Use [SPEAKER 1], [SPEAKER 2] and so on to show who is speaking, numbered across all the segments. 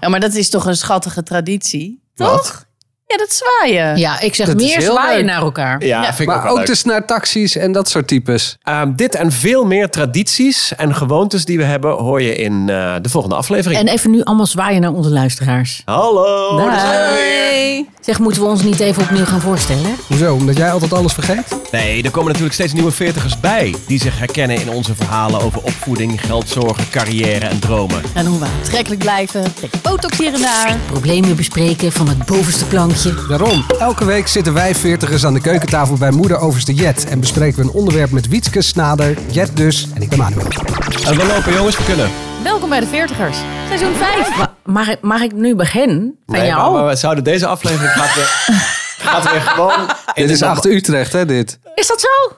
[SPEAKER 1] Ja, maar dat is toch een schattige traditie? Toch?
[SPEAKER 2] Wat?
[SPEAKER 1] Ja, dat zwaaien.
[SPEAKER 3] Ja, ik zeg
[SPEAKER 2] Dat is
[SPEAKER 3] meer
[SPEAKER 2] heel
[SPEAKER 3] zwaaien
[SPEAKER 2] leuk.
[SPEAKER 3] naar elkaar.
[SPEAKER 2] Ja,
[SPEAKER 1] Ja.
[SPEAKER 2] vind ik
[SPEAKER 4] Maar
[SPEAKER 2] ook, wel
[SPEAKER 4] ook
[SPEAKER 2] leuk.
[SPEAKER 4] dus naar taxis en dat soort types. Ehm, dit en veel meer tradities en gewoontes die we hebben... hoor je in eh, de volgende aflevering.
[SPEAKER 3] En Nou. even nu allemaal zwaaien naar onze luisteraars.
[SPEAKER 4] Hallo, daar zijn we weer.
[SPEAKER 1] Hey.
[SPEAKER 3] Zeg, moeten we ons niet even opnieuw gaan voorstellen?
[SPEAKER 5] Hoezo? Omdat jij altijd alles vergeet?
[SPEAKER 4] Nee, er komen natuurlijk steeds nieuwe veertigers bij... die zich herkennen in onze verhalen over opvoeding, geldzorgen, carrière en dromen.
[SPEAKER 3] En hoe we aantrekkelijk blijven.
[SPEAKER 1] Botox hier en daar.
[SPEAKER 3] Problemen bespreken van het bovenste plankje.
[SPEAKER 5] Daarom, elke week zitten wij veertigers aan de keukentafel bij moeder overste Jet... en bespreken we een onderwerp met Wietske Snader, Jet dus en ik ben Manuel.
[SPEAKER 4] En Eh, we lopen jongens, we kunnen.
[SPEAKER 1] Welkom bij de Veertigers. Seizoen 5.
[SPEAKER 3] Ma- Mag ik, mag ik nu beginnen? Van
[SPEAKER 4] Nee,
[SPEAKER 3] jou?
[SPEAKER 4] maar- maar we zouden deze aflevering gaat weer, gaat weer gewoon.
[SPEAKER 5] Dit is achter Utrecht, hè, dit?
[SPEAKER 3] Is dat zo?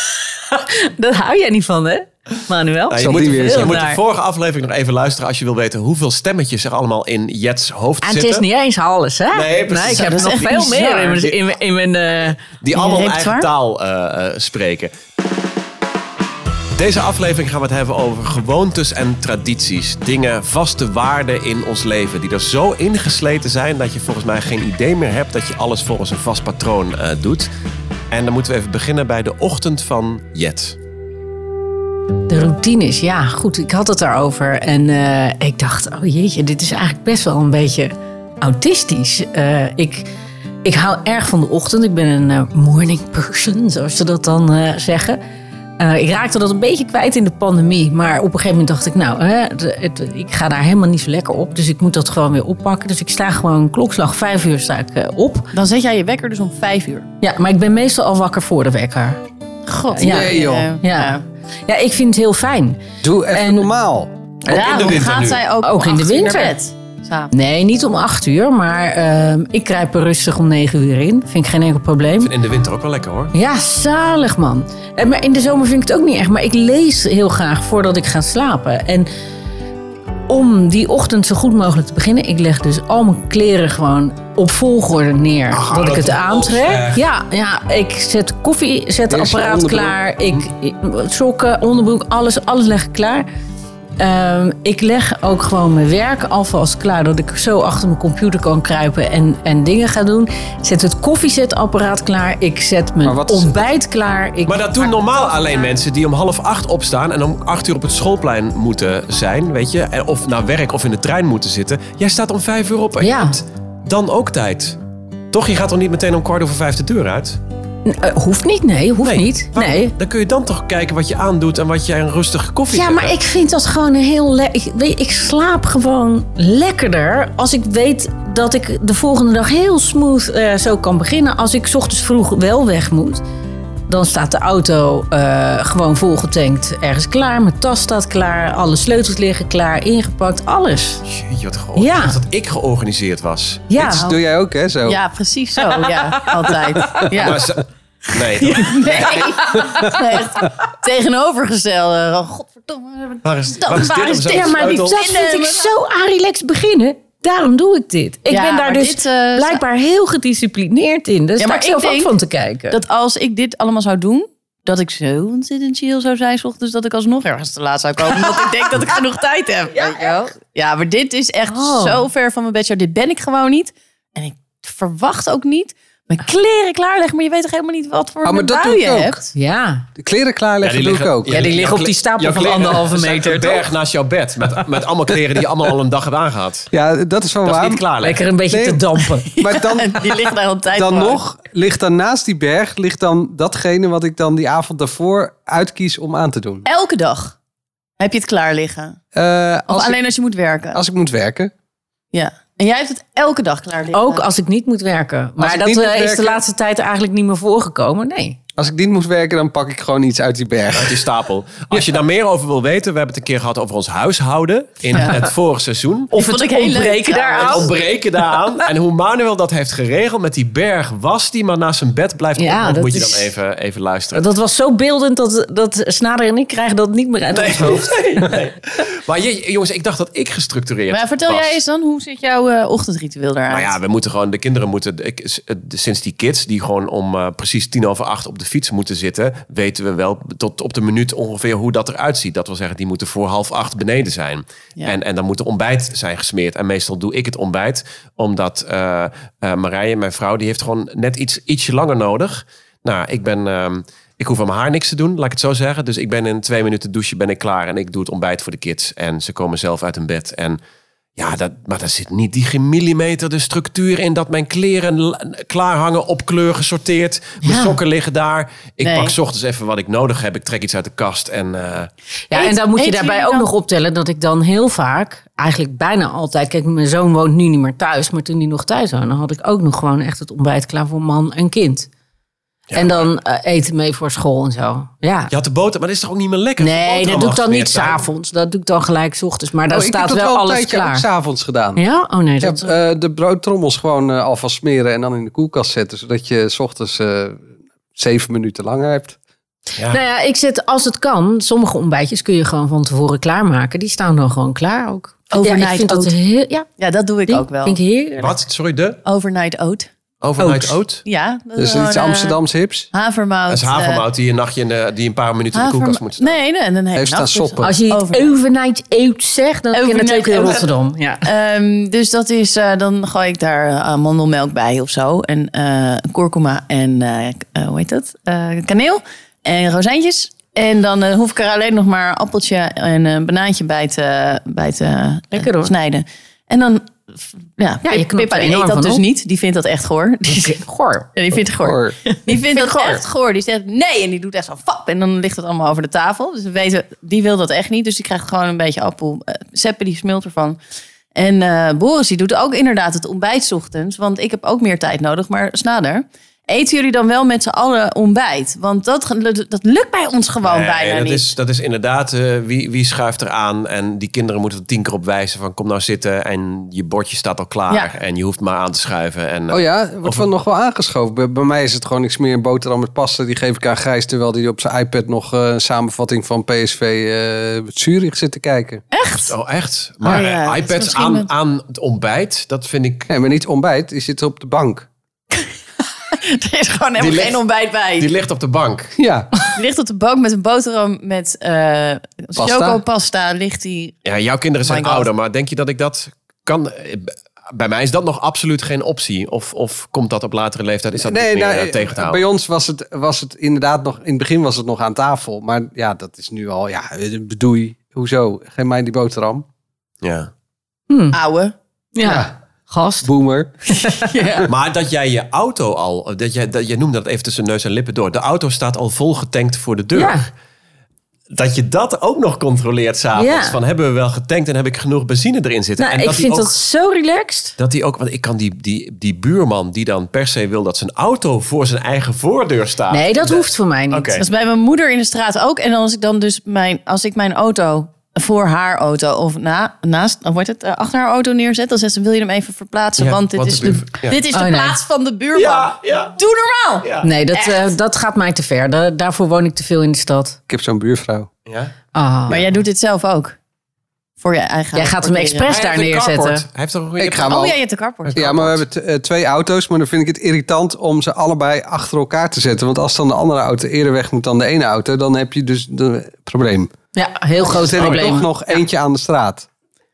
[SPEAKER 3] dat hou jij niet van, hè? Manuel?
[SPEAKER 4] Nou, je
[SPEAKER 5] Zal
[SPEAKER 4] moet,
[SPEAKER 5] die weer
[SPEAKER 4] je
[SPEAKER 5] zijn.
[SPEAKER 4] moet de
[SPEAKER 3] Daar.
[SPEAKER 4] vorige aflevering nog even luisteren als je wil weten hoeveel stemmetjes er allemaal in Jets hoofd
[SPEAKER 3] En het
[SPEAKER 4] zitten.
[SPEAKER 3] is niet eens alles, hè?
[SPEAKER 4] Nee, precies.
[SPEAKER 3] ik
[SPEAKER 4] Ja,
[SPEAKER 3] heb
[SPEAKER 4] dat
[SPEAKER 3] nog
[SPEAKER 4] is echt
[SPEAKER 3] veel meer in mijn,
[SPEAKER 4] bizar.
[SPEAKER 3] in mijn, in mijn, eh,
[SPEAKER 4] Die allemaal hun eigen
[SPEAKER 3] repertoire.
[SPEAKER 4] taal eh, eh, spreken. Deze aflevering gaan we het hebben over gewoontes en tradities. Dingen, vaste waarden in ons leven. Die er zo ingesleten zijn dat je volgens mij geen idee meer hebt dat je alles volgens een vast patroon eh, doet. En dan moeten we even beginnen bij de ochtend van Jet.
[SPEAKER 3] De routines, ja, goed. Ik had het daarover. En eh, ik dacht, oh jeetje, dit is eigenlijk best wel een beetje autistisch. Eh, ik, ik hou erg van de ochtend. Ik ben een eh, morning person, zoals ze dat dan eh, zeggen. Eh, ik raakte dat een beetje kwijt in de pandemie. Maar op een gegeven moment dacht ik, nou, hè, het- het- ik ga daar helemaal niet zo lekker op. Dus ik moet dat gewoon weer oppakken. Dus ik sta gewoon klokslag vijf uur sta ik eh, op.
[SPEAKER 1] Dan zet jij je wekker dus om 5 uur.
[SPEAKER 3] Ja, maar ik ben meestal al wakker voor de wekker.
[SPEAKER 1] God.
[SPEAKER 3] Ja.
[SPEAKER 5] Nee, joh.
[SPEAKER 3] Ja, ja ik vind het heel fijn.
[SPEAKER 5] Doe even
[SPEAKER 3] En-
[SPEAKER 5] normaal.
[SPEAKER 1] Daarom
[SPEAKER 4] in de winter
[SPEAKER 1] gaat
[SPEAKER 4] nu.
[SPEAKER 1] zij ook,
[SPEAKER 3] Ook
[SPEAKER 1] om
[SPEAKER 3] in de
[SPEAKER 1] acht uur naar
[SPEAKER 3] winter.
[SPEAKER 1] bed. S'avonds.
[SPEAKER 3] Nee, niet om acht uur, maar ehm, ik kruip er rustig om negen uur in. Vind ik geen enkel probleem.
[SPEAKER 4] In de winter ook wel lekker hoor.
[SPEAKER 3] Ja, zalig man. En, maar in de zomer vind ik het ook niet echt. Maar ik lees heel graag voordat ik ga slapen. En om die ochtend zo goed mogelijk te beginnen, ik leg dus al mijn kleren gewoon op volgorde neer. dat, ik het aantrek. Ja, ja, ik zet koffie, zet het
[SPEAKER 5] Eerst je
[SPEAKER 3] apparaat
[SPEAKER 5] onderbroek. Hm.
[SPEAKER 3] klaar. Ik, ik- sokken, onderbroek, alles, alles leg ik klaar. Ehm, ik leg ook gewoon mijn werk alvast klaar, dat ik zo achter mijn computer kan kruipen en, en dingen ga doen. Ik Zet het koffiezetapparaat klaar, ik zet
[SPEAKER 5] Maar
[SPEAKER 3] mijn
[SPEAKER 5] wat is-
[SPEAKER 3] ontbijt klaar. Ik
[SPEAKER 4] Maar dat doen normaal alleen mensen die om half acht opstaan en om acht uur op het schoolplein moeten zijn, weet je. En Of naar werk of in de trein moeten zitten. Jij staat om vijf uur op en
[SPEAKER 3] Ja.
[SPEAKER 4] je hebt dan ook tijd. Toch, je gaat toch niet meteen om kwart over vijf de deur uit?
[SPEAKER 3] Eh, hoeft niet, nee, hoeft niet.
[SPEAKER 4] waarom?
[SPEAKER 3] Nee.
[SPEAKER 4] Dan kun je dan toch kijken wat je aandoet en wat je een rustige koffie
[SPEAKER 3] Ja,
[SPEAKER 4] zet.
[SPEAKER 3] maar ik vind dat gewoon een heel lekker. Ik, ik slaap gewoon lekkerder als ik weet dat ik de volgende dag heel smooth eh, zo kan beginnen. Als ik 's ochtends vroeg wel weg moet, dan staat de auto eh, gewoon volgetankt ergens klaar. Mijn tas staat klaar, alle sleutels liggen klaar, ingepakt, alles.
[SPEAKER 4] Jeetje, wat georganiseerd.
[SPEAKER 3] Ja.
[SPEAKER 4] Dat ik georganiseerd was.
[SPEAKER 3] Ja,
[SPEAKER 5] Dit doe jij ook, hè, zo?
[SPEAKER 1] Ja, precies zo. Ja, altijd. Ja.
[SPEAKER 4] Maar ze- Nee, dat-
[SPEAKER 1] Nee. Echt. Tegenovergestelde. Oh, Godverdomme.
[SPEAKER 4] waar is,
[SPEAKER 1] Dat
[SPEAKER 4] waar is dit
[SPEAKER 1] waar
[SPEAKER 4] om
[SPEAKER 1] is
[SPEAKER 4] zo'n
[SPEAKER 1] dit?
[SPEAKER 3] ja maar die,
[SPEAKER 4] sleutel?
[SPEAKER 3] dat vind ik zo Arilex beginnen. Daarom doe ik dit. Ik
[SPEAKER 1] Ja,
[SPEAKER 3] ben daar
[SPEAKER 1] maar
[SPEAKER 3] dus
[SPEAKER 1] dit, eh,
[SPEAKER 3] blijkbaar heel gedisciplineerd in.
[SPEAKER 1] Ja,
[SPEAKER 3] Dus ja,
[SPEAKER 1] maar
[SPEAKER 3] maar
[SPEAKER 1] ik
[SPEAKER 3] zelf ook
[SPEAKER 1] denk
[SPEAKER 3] van te kijken.
[SPEAKER 1] Dat als ik dit allemaal zou doen, dat ik zo ontzettend chill zou zijn, 's ochtends dat ik alsnog ergens te laat zou komen. Omdat ik denk dat ik genoeg tijd heb. Ja, ja maar dit is echt
[SPEAKER 3] Oh.
[SPEAKER 1] zo ver van mijn bedshow. Dit ben ik gewoon niet. En ik verwacht ook niet mijn kleren klaarleggen. Maar je weet toch helemaal niet wat voor
[SPEAKER 5] Oh, maar
[SPEAKER 1] een
[SPEAKER 5] dat
[SPEAKER 1] bui
[SPEAKER 5] doe
[SPEAKER 1] je
[SPEAKER 5] ik ook.
[SPEAKER 1] hebt?
[SPEAKER 3] ja.
[SPEAKER 5] De kleren klaarleggen doe ik ook.
[SPEAKER 3] Ja, die liggen op die stapel van anderhalve meter,
[SPEAKER 4] Een berg naast jouw bed. Met, met allemaal kleren die je allemaal al een dag hebt aangehad.
[SPEAKER 5] Ja, dat is wel
[SPEAKER 4] Dat
[SPEAKER 5] waar.
[SPEAKER 4] is niet klaar. Lekker.
[SPEAKER 3] Lekker een beetje
[SPEAKER 5] Nee.
[SPEAKER 3] te dampen.
[SPEAKER 5] Maar dan,
[SPEAKER 1] Die ligt daar al een tijd
[SPEAKER 5] dan
[SPEAKER 1] gewoon.
[SPEAKER 5] nog ligt dan naast die berg ligt dan datgene wat ik dan die avond daarvoor uitkies om aan te doen.
[SPEAKER 1] Elke dag heb je het klaar liggen.
[SPEAKER 5] Eh,
[SPEAKER 1] Of
[SPEAKER 5] als,
[SPEAKER 1] alleen als je moet werken.
[SPEAKER 5] ik, als ik moet werken.
[SPEAKER 1] Ja. En jij hebt het elke dag klaar liggen.
[SPEAKER 3] Ook als ik niet moet werken. Maar
[SPEAKER 5] ik
[SPEAKER 3] dat
[SPEAKER 5] niet moet
[SPEAKER 3] eh, is de
[SPEAKER 5] werken-
[SPEAKER 3] laatste tijd eigenlijk niet meer voorgekomen. Nee.
[SPEAKER 5] Als ik niet moet werken, dan pak ik gewoon iets uit die berg.
[SPEAKER 2] Oh,
[SPEAKER 4] Uit die stapel. Als je daar meer over wil weten, we hebben het een keer gehad over ons huishouden in het vorige seizoen.
[SPEAKER 3] Of
[SPEAKER 1] vond ik heel leuk trouwens.
[SPEAKER 4] Het
[SPEAKER 1] Au.
[SPEAKER 4] ontbreken daaraan. En hoe Manuel dat heeft geregeld met die berg was die maar naast zijn bed blijft
[SPEAKER 3] Ja,
[SPEAKER 4] ja,
[SPEAKER 3] dat
[SPEAKER 4] moet je
[SPEAKER 3] is-
[SPEAKER 4] dan even, even luisteren.
[SPEAKER 3] Dat was zo beeldend dat, dat Snader en ik krijgen dat niet meer uit ons hoofd.
[SPEAKER 4] Maar je, jongens, ik dacht dat ik gestructureerd
[SPEAKER 1] Maar vertel
[SPEAKER 4] was.
[SPEAKER 1] jij eens dan, hoe ziet jouw eh, ochtendritueel eruit?
[SPEAKER 4] Nou ja, we moeten gewoon, de kinderen moeten, ik- s- eh, de- sinds die kids, die gewoon om eh, precies tien over acht op de fiets moeten zitten, weten we wel tot op de minuut ongeveer hoe dat eruit ziet. Dat wil zeggen, die moeten voor half acht beneden zijn.
[SPEAKER 1] Ja.
[SPEAKER 4] En, en dan moet er ontbijt zijn gesmeerd. En meestal doe ik het ontbijt, omdat eh eh, Marije, mijn vrouw, die heeft gewoon net iets, ietsje langer nodig. Nou, ik ben... ehm, ik hoef aan mijn haar niks te doen, laat ik het zo zeggen. Dus ik ben in twee minuten douchen, ben ik klaar. En ik doe het ontbijt voor de kids. En ze komen zelf uit hun bed. En ja, dat, maar daar zit niet die gemillimeterde structuur in dat mijn kleren l- klaar hangen, op kleur gesorteerd. Mijn
[SPEAKER 3] Ja.
[SPEAKER 4] sokken liggen daar. Ik
[SPEAKER 1] Nee.
[SPEAKER 4] pak 's ochtends even wat ik nodig heb. Ik trek iets uit de kast en eh,
[SPEAKER 3] Ja, en
[SPEAKER 1] Eet-
[SPEAKER 3] dan moet je
[SPEAKER 1] eten
[SPEAKER 3] daarbij
[SPEAKER 1] jullie
[SPEAKER 3] ook
[SPEAKER 1] dan-
[SPEAKER 3] nog optellen dat ik dan heel vaak, eigenlijk bijna altijd, kijk, mijn zoon woont nu niet meer thuis, maar toen hij nog thuis woonde, had ik ook nog gewoon echt het ontbijt klaar voor man en kind. en dan eh, eten mee voor school en zo. Ja.
[SPEAKER 4] je had de boter, maar dat is toch ook niet meer lekker?
[SPEAKER 3] nee,
[SPEAKER 4] Boterham
[SPEAKER 3] dat doe ik dan
[SPEAKER 4] afgesmeerd
[SPEAKER 3] niet
[SPEAKER 4] zijn.
[SPEAKER 3] s'avonds. Dat doe ik dan gelijk 's ochtends. Maar dan
[SPEAKER 2] Oh, ik heb
[SPEAKER 3] staat
[SPEAKER 2] dat
[SPEAKER 3] wel,
[SPEAKER 2] wel een
[SPEAKER 3] alles
[SPEAKER 2] tijdje ook
[SPEAKER 3] klaar.
[SPEAKER 2] s'avonds gedaan.
[SPEAKER 3] Ja? Oh nee,
[SPEAKER 2] Ik heb
[SPEAKER 3] dat...
[SPEAKER 2] eh, de broodtrommels gewoon eh, alvast smeren en dan in de koelkast zetten. Zodat je 's ochtends eh, zeven minuten langer hebt.
[SPEAKER 4] Ja.
[SPEAKER 3] Nou ja, ik zet als het kan, sommige ontbijtjes kun je gewoon van tevoren klaarmaken. Die staan dan gewoon klaar ook.
[SPEAKER 1] Overnight
[SPEAKER 3] ja, ik vind dat
[SPEAKER 1] oat.
[SPEAKER 3] heel, ja,
[SPEAKER 1] Ja, dat doe ik
[SPEAKER 3] die
[SPEAKER 1] ook wel.
[SPEAKER 3] Vind ik heerlijk.
[SPEAKER 4] Wat? Sorry, de?
[SPEAKER 1] Overnight oat.
[SPEAKER 4] Overnight oat?
[SPEAKER 1] Ja. Dat
[SPEAKER 2] Dus
[SPEAKER 1] gewoon,
[SPEAKER 2] iets
[SPEAKER 1] eh,
[SPEAKER 2] Amsterdams hips.
[SPEAKER 1] Havermout. eh,
[SPEAKER 4] Dat is havermout die een nachtje in de, die een paar minuten in de koelkast moet staan.
[SPEAKER 1] Nee, nee, en een hele
[SPEAKER 2] Heeft staan
[SPEAKER 1] nacht. dus-
[SPEAKER 2] soppen.
[SPEAKER 3] Als je
[SPEAKER 1] Overnight.
[SPEAKER 3] het overnight eet zegt, dan ken je
[SPEAKER 1] Overnight
[SPEAKER 3] het ook in
[SPEAKER 1] oat.
[SPEAKER 3] Rotterdam. Ja.
[SPEAKER 1] Ehm, dus dat is, eh, dan gooi ik daar eh, amandelmelk bij of zo. En eh kurkuma en, eh, k- eh, hoe heet dat? Eh, kaneel en rozijntjes. En dan eh, hoef ik er alleen nog maar appeltje en een banaantje bij te, bij te eh,
[SPEAKER 3] Lekker, hoor.
[SPEAKER 1] snijden. En dan, f- ja,
[SPEAKER 3] Ja,
[SPEAKER 1] ja
[SPEAKER 3] je
[SPEAKER 1] je
[SPEAKER 3] knopt er
[SPEAKER 1] Pippa die
[SPEAKER 3] enorm
[SPEAKER 1] eet dat
[SPEAKER 3] van
[SPEAKER 1] dus
[SPEAKER 3] op.
[SPEAKER 1] niet. Die vindt dat echt goor. Die,
[SPEAKER 3] Goor.
[SPEAKER 1] die vindt het goor.
[SPEAKER 2] Hoor.
[SPEAKER 1] Die vindt dat
[SPEAKER 3] goor.
[SPEAKER 1] echt goor. Die zegt nee en die doet echt zo fap. En dan ligt het allemaal over de tafel. Dus we weten, die wil dat echt niet. Dus die krijgt gewoon een beetje appel. eh, Seppe die smult ervan. En eh, Boris die doet ook inderdaad het ontbijt 's ochtends. Want ik heb ook meer tijd nodig, maar snader. Eten jullie dan wel met z'n allen ontbijt? Want dat, ge- dat lukt bij ons gewoon
[SPEAKER 4] Nee,
[SPEAKER 1] bijna
[SPEAKER 4] dat
[SPEAKER 1] niet.
[SPEAKER 4] Is, dat is inderdaad, eh, wie, wie schuift er aan? En die kinderen moeten er tien keer op wijzen van kom nou zitten en je bordje staat al klaar.
[SPEAKER 1] Ja.
[SPEAKER 4] En je hoeft maar aan te schuiven. En, eh,
[SPEAKER 2] Oh ja, wordt van nog wel aangeschoven. Bij, bij mij is het gewoon, ik smeer een boterham met pasta. Die geef ik aan Gijs, terwijl hij op zijn iPad nog eh, een samenvatting van PSV eh Zurich zit te kijken.
[SPEAKER 1] Echt?
[SPEAKER 4] Oh, echt? Maar
[SPEAKER 1] ja,
[SPEAKER 4] eh,
[SPEAKER 1] dat is
[SPEAKER 4] iPads
[SPEAKER 1] misschien
[SPEAKER 4] aan,
[SPEAKER 1] met-
[SPEAKER 4] aan het ontbijt, dat vind ik...
[SPEAKER 2] Nee, maar niet ontbijt, die zit op de bank.
[SPEAKER 1] Er is gewoon helemaal
[SPEAKER 4] ligt-
[SPEAKER 1] geen ontbijt bij.
[SPEAKER 4] Die ligt op de bank.
[SPEAKER 2] Ja,
[SPEAKER 1] Die ligt op de bank met een boterham met eh chocopasta. Ligt die...
[SPEAKER 4] Ja, jouw kinderen zijn
[SPEAKER 1] Oh My God.
[SPEAKER 4] ouder, maar denk je dat ik dat kan... Bij mij is dat nog absoluut geen optie. Of, of komt dat op latere leeftijd? Is dat niet meer
[SPEAKER 1] nou,
[SPEAKER 4] eh, tegen te houden?
[SPEAKER 2] nou, bij ons was het, was het inderdaad nog, in het begin was het nog aan tafel. Maar ja, dat is nu al, ja, eh, bedoei, hoezo? Geen mij die boterham.
[SPEAKER 4] Ja. Hm.
[SPEAKER 1] Ouwe.
[SPEAKER 3] Ja. Gast.
[SPEAKER 2] Boomer.
[SPEAKER 4] Maar dat jij je auto al... Dat jij, dat, jij noemde dat even tussen neus en lippen door. De auto staat al vol getankt voor de deur.
[SPEAKER 3] Ja.
[SPEAKER 4] dat je dat ook nog controleert s'avonds.
[SPEAKER 3] Ja.
[SPEAKER 4] Van hebben we wel getankt en heb ik genoeg benzine erin zitten.
[SPEAKER 3] Nou,
[SPEAKER 4] en
[SPEAKER 3] ik
[SPEAKER 4] dat die
[SPEAKER 3] vind
[SPEAKER 4] ook,
[SPEAKER 3] dat zo relaxed.
[SPEAKER 4] dat die ook, want ik kan die, die, die buurman die dan per se wil dat zijn auto voor zijn eigen voordeur staat.
[SPEAKER 3] Nee, dat hoeft voor mij niet.
[SPEAKER 4] Ah, Oké.
[SPEAKER 1] Dat is bij mijn moeder in de straat ook. En als ik dan dus mijn, als ik mijn auto voor haar auto of na, naast, dan wordt het eh, achter haar auto neerzet. Dan zegt ze: Wil je hem even verplaatsen?
[SPEAKER 4] Ja,
[SPEAKER 1] want dit
[SPEAKER 4] want
[SPEAKER 1] is
[SPEAKER 4] de
[SPEAKER 1] de,
[SPEAKER 4] buur- ja.
[SPEAKER 1] dit is de
[SPEAKER 3] Oh, nee.
[SPEAKER 1] plaats van de buurman.
[SPEAKER 4] Ja, ja.
[SPEAKER 1] Doe normaal.
[SPEAKER 4] Ja.
[SPEAKER 3] Nee, dat, eh, dat gaat mij te ver. Da- daarvoor woon ik te veel in de stad.
[SPEAKER 2] Ik heb zo'n buurvrouw.
[SPEAKER 4] Ja.
[SPEAKER 3] Ah.
[SPEAKER 1] Maar jij doet dit zelf ook. Voor je eigen.
[SPEAKER 3] Jij gaat hem
[SPEAKER 1] parkeren.
[SPEAKER 3] expres daar
[SPEAKER 4] Hij heeft een
[SPEAKER 3] neerzetten.
[SPEAKER 4] carport. Hij heeft toch een
[SPEAKER 2] Ik ga wel.
[SPEAKER 1] Oh, jij hebt de carport.
[SPEAKER 2] Ja, maar we hebben t- eh, twee auto's, maar dan vind ik het irritant om ze allebei achter elkaar te zetten. Want als dan de andere auto eerder weg moet dan de ene auto, dan heb je dus een probleem.
[SPEAKER 3] Ja, heel groot
[SPEAKER 2] Zet ik toch
[SPEAKER 3] probleem.
[SPEAKER 2] nog eentje aan de straat.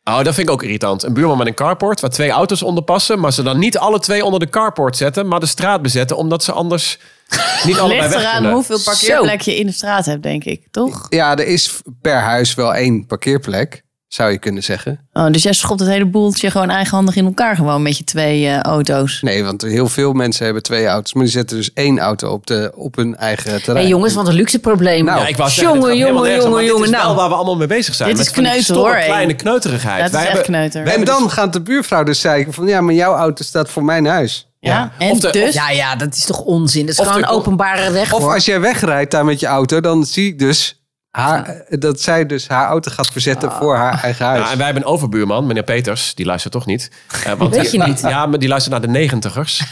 [SPEAKER 4] Oh, dat vind ik ook irritant. Een buurman met een carport waar twee auto's onder passen, maar ze dan niet alle twee onder de carport zetten, maar de straat bezetten, omdat ze anders niet allebei
[SPEAKER 1] Ligt
[SPEAKER 4] weg
[SPEAKER 1] eraan
[SPEAKER 4] kunnen.
[SPEAKER 1] hoeveel parkeerplek je in de straat hebt, denk ik, toch?
[SPEAKER 2] Ja, er is per huis wel één parkeerplek, zou je kunnen zeggen.
[SPEAKER 1] Oh, dus jij schopt het hele boeltje gewoon eigenhandig in elkaar, gewoon met je twee eh, auto's.
[SPEAKER 2] Nee, want heel veel mensen hebben twee auto's, maar die zetten dus één auto op, de, op hun eigen terrein.
[SPEAKER 3] Hey, jongens, wat een luxe probleem.
[SPEAKER 2] Nou,
[SPEAKER 4] Ja, ik wou zeggen, dit
[SPEAKER 3] Oh, Jongen,
[SPEAKER 4] gaat helemaal
[SPEAKER 3] jongen,
[SPEAKER 4] nergens om, maar
[SPEAKER 3] jongen,
[SPEAKER 4] Dit
[SPEAKER 3] jongen,
[SPEAKER 4] is wel
[SPEAKER 3] nou.
[SPEAKER 4] waar we allemaal mee bezig zijn.
[SPEAKER 1] Dit is
[SPEAKER 4] Met van die
[SPEAKER 1] kneuter,
[SPEAKER 4] stomme
[SPEAKER 1] hoor, hé.
[SPEAKER 4] kleine kneuterigheid.
[SPEAKER 1] Dat is
[SPEAKER 4] Wij
[SPEAKER 1] echt
[SPEAKER 4] hebben-
[SPEAKER 1] kneuter.
[SPEAKER 2] en dan gaat de buurvrouw dus zeggen van ja, maar jouw auto staat voor mijn huis.
[SPEAKER 1] Ja, en
[SPEAKER 4] Of de-
[SPEAKER 1] dus.
[SPEAKER 3] Ja, ja, dat is toch onzin. Dat is
[SPEAKER 4] Of
[SPEAKER 3] gewoon
[SPEAKER 4] de-
[SPEAKER 3] een openbare weg,
[SPEAKER 2] Of
[SPEAKER 3] hoor.
[SPEAKER 2] als jij wegrijdt daar met je auto, dan zie ik dus Haar, eh, dat zij dus haar auto gaat verzetten
[SPEAKER 3] Ah.
[SPEAKER 2] voor haar eigen huis.
[SPEAKER 4] Ja, Nou, en wij hebben een overbuurman, meneer Peters. Die luistert toch niet? Eh, want
[SPEAKER 3] Weet
[SPEAKER 4] die-
[SPEAKER 3] je niet.
[SPEAKER 4] Ja, maar die luistert naar de negentigers.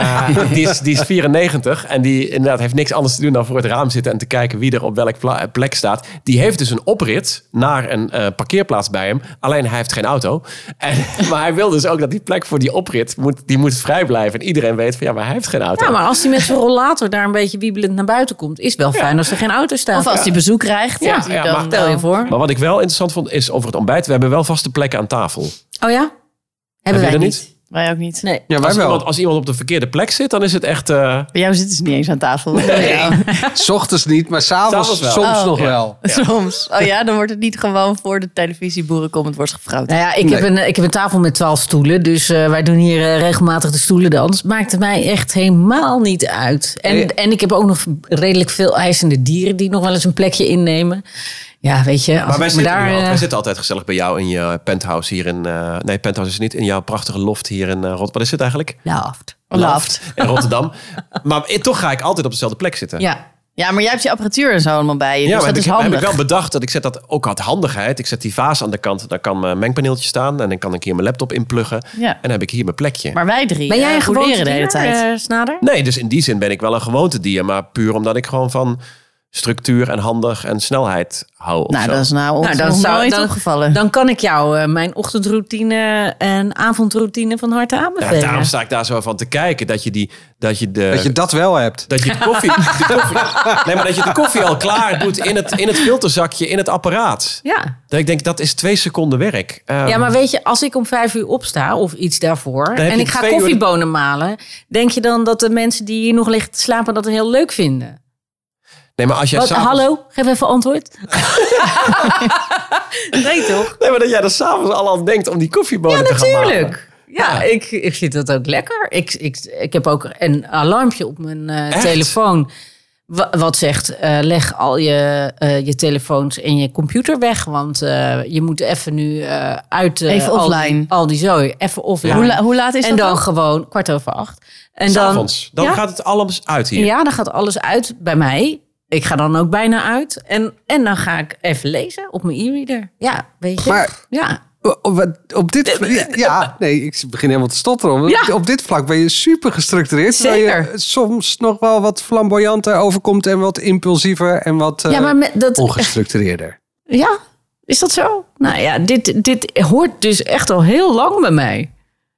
[SPEAKER 4] Eh, die, is, die is 94 en die inderdaad heeft niks anders te doen dan voor het raam zitten... en te kijken wie er op welke pla- eh, plek staat. Die heeft dus een oprit naar een eh, parkeerplaats bij hem. Alleen hij heeft geen auto. En, maar hij wil dus ook dat die plek voor die oprit moet, die moet vrij blijven. En iedereen weet van ja, maar hij heeft geen auto.
[SPEAKER 3] Ja, maar als die met zijn rollator daar een beetje wiebelend naar buiten komt, is wel fijn als er geen auto staat.
[SPEAKER 1] Of als hij bezoek krijgt.
[SPEAKER 4] Ja,
[SPEAKER 1] dat hij
[SPEAKER 4] ja,
[SPEAKER 1] dan,
[SPEAKER 4] maar
[SPEAKER 3] Stel je voor.
[SPEAKER 4] Maar wat ik wel interessant vond is over het ontbijt. We hebben wel vaste plekken aan tafel.
[SPEAKER 3] Oh ja? Hebben
[SPEAKER 4] je
[SPEAKER 3] wij
[SPEAKER 4] dat
[SPEAKER 3] niet.
[SPEAKER 1] Wij ook niet.
[SPEAKER 3] Nee.
[SPEAKER 2] Ja, wij
[SPEAKER 4] als,
[SPEAKER 2] wel.
[SPEAKER 4] Iemand, als iemand op de verkeerde plek zit, dan is het echt... eh,
[SPEAKER 1] Bij jou zitten ze niet eens aan tafel. Ja.
[SPEAKER 2] S ochtends niet, maar s'avonds
[SPEAKER 4] S'avonds wel.
[SPEAKER 2] soms
[SPEAKER 1] Oh.
[SPEAKER 2] nog wel.
[SPEAKER 1] Soms. Oh ja, dan wordt het niet gewoon voor de televisie boerenkomend wordt gevrouwd.
[SPEAKER 3] Nou ja, ik, heb een, ik heb een tafel met twaalf stoelen. Dus eh, wij doen hier eh, regelmatig de stoelendans. Maakt het mij echt helemaal niet uit. En,
[SPEAKER 2] Nee.
[SPEAKER 3] en ik heb ook nog redelijk veel eisende dieren die nog wel eens een plekje innemen. Ja, weet je. Als
[SPEAKER 4] Maar wij
[SPEAKER 3] ik me
[SPEAKER 4] zitten,
[SPEAKER 3] daar,
[SPEAKER 4] nu al-
[SPEAKER 3] eh,
[SPEAKER 4] wij zitten altijd gezellig bij jou in je penthouse hier in... eh, nee, penthouse is het niet. In jouw prachtige loft hier in eh Rot- Wat is het eigenlijk?
[SPEAKER 3] Laughed.
[SPEAKER 1] Laft.
[SPEAKER 4] In Rotterdam. maar eh, toch ga ik altijd op dezelfde plek zitten.
[SPEAKER 3] Ja.
[SPEAKER 1] Ja, maar jij hebt je apparatuur en zo allemaal bij je.
[SPEAKER 4] Ja,
[SPEAKER 1] dus
[SPEAKER 4] maar
[SPEAKER 1] dat
[SPEAKER 4] heb
[SPEAKER 1] is
[SPEAKER 4] ik, heb ik
[SPEAKER 1] handig.
[SPEAKER 4] wel bedacht dat ik zet dat ook uit handigheid. Ik zet die vaas aan de kant. Daar kan mijn mengpaneeltje staan. En dan kan ik hier mijn laptop in pluggen.
[SPEAKER 1] Ja.
[SPEAKER 4] En dan heb ik hier mijn plekje.
[SPEAKER 1] Maar wij drie
[SPEAKER 3] Ben jij een
[SPEAKER 1] eh,
[SPEAKER 3] gewoon
[SPEAKER 1] boerderen de hele tijd.
[SPEAKER 3] Snader?
[SPEAKER 4] Nee, dus in die zin ben ik wel een gewoontedier. Maar puur omdat ik gewoon van structuur en handig en snelheid hou. of
[SPEAKER 1] nou,
[SPEAKER 4] zo.
[SPEAKER 1] dat is nou, ons
[SPEAKER 3] Nou, dan
[SPEAKER 1] nog
[SPEAKER 3] zou-
[SPEAKER 1] nooit
[SPEAKER 3] dan-
[SPEAKER 1] opgevallen.
[SPEAKER 3] Dan kan ik jou eh, mijn ochtendroutine en avondroutine van harte
[SPEAKER 4] Ja,
[SPEAKER 3] aanbevelen.
[SPEAKER 4] daarom sta ik daar zo van te kijken. Dat je, die, dat je de...
[SPEAKER 2] Dat je dat wel hebt.
[SPEAKER 4] Dat je de koffie, de koffie- nee, maar dat je de koffie al klaar doet in het, in het filterzakje, in het apparaat.
[SPEAKER 3] ja.
[SPEAKER 4] Dat ik denk, dat is twee seconden werk. Ehm,
[SPEAKER 3] Ja, maar weet je, als ik om vijf uur opsta of iets daarvoor
[SPEAKER 4] heb
[SPEAKER 3] en
[SPEAKER 4] je
[SPEAKER 3] ik ga
[SPEAKER 4] twee uur-
[SPEAKER 3] koffiebonen malen, denk je dan dat de mensen die hier nog liggen te slapen dat heel leuk vinden?
[SPEAKER 4] nee, maar als jij
[SPEAKER 3] Wat,
[SPEAKER 4] s'avonds-
[SPEAKER 3] Hallo, geef even antwoord. nee toch?
[SPEAKER 4] Nee, maar dat jij er s'avonds al aan denkt om die koffiebonen
[SPEAKER 3] Ja,
[SPEAKER 4] te gaan
[SPEAKER 3] natuurlijk. Ja, Ik, ik vind dat ook lekker. Ik, ik, ik heb ook een alarmpje op mijn eh,
[SPEAKER 4] Echt?
[SPEAKER 3] telefoon. wa- Wat zegt, eh, leg al je, eh, je telefoons en je computer weg. Want eh, je moet even nu eh, uit eh,
[SPEAKER 1] Even
[SPEAKER 3] al die-
[SPEAKER 1] offline.
[SPEAKER 3] Al die zooi, even offline.
[SPEAKER 1] hoe, la- hoe laat is
[SPEAKER 3] en
[SPEAKER 1] dat
[SPEAKER 3] dan
[SPEAKER 1] dan?
[SPEAKER 3] gewoon kwart over acht. En
[SPEAKER 4] maken.
[SPEAKER 3] dan,
[SPEAKER 4] S'avonds. Dan
[SPEAKER 3] ja,
[SPEAKER 4] gaat het alles uit hier.
[SPEAKER 3] ja, dan gaat alles uit bij mij. Ik ga dan ook bijna uit. En, en dan ga ik even lezen op mijn e-reader. Ja, weet je.
[SPEAKER 2] Maar-
[SPEAKER 3] ja.
[SPEAKER 2] Op, wat- op dit ja, nee, ik begin helemaal te stotteren. Op-
[SPEAKER 3] Ja.
[SPEAKER 2] Op dit vlak ben je super gestructureerd. terwijl je
[SPEAKER 3] Zeker.
[SPEAKER 2] soms nog wel wat flamboyanter overkomt en wat impulsiever en wat eh,
[SPEAKER 3] ja, maar met, dat,
[SPEAKER 2] ongestructureerder.
[SPEAKER 3] Ja, is dat zo? Nou ja, dit, dit hoort dus echt al heel lang bij mij.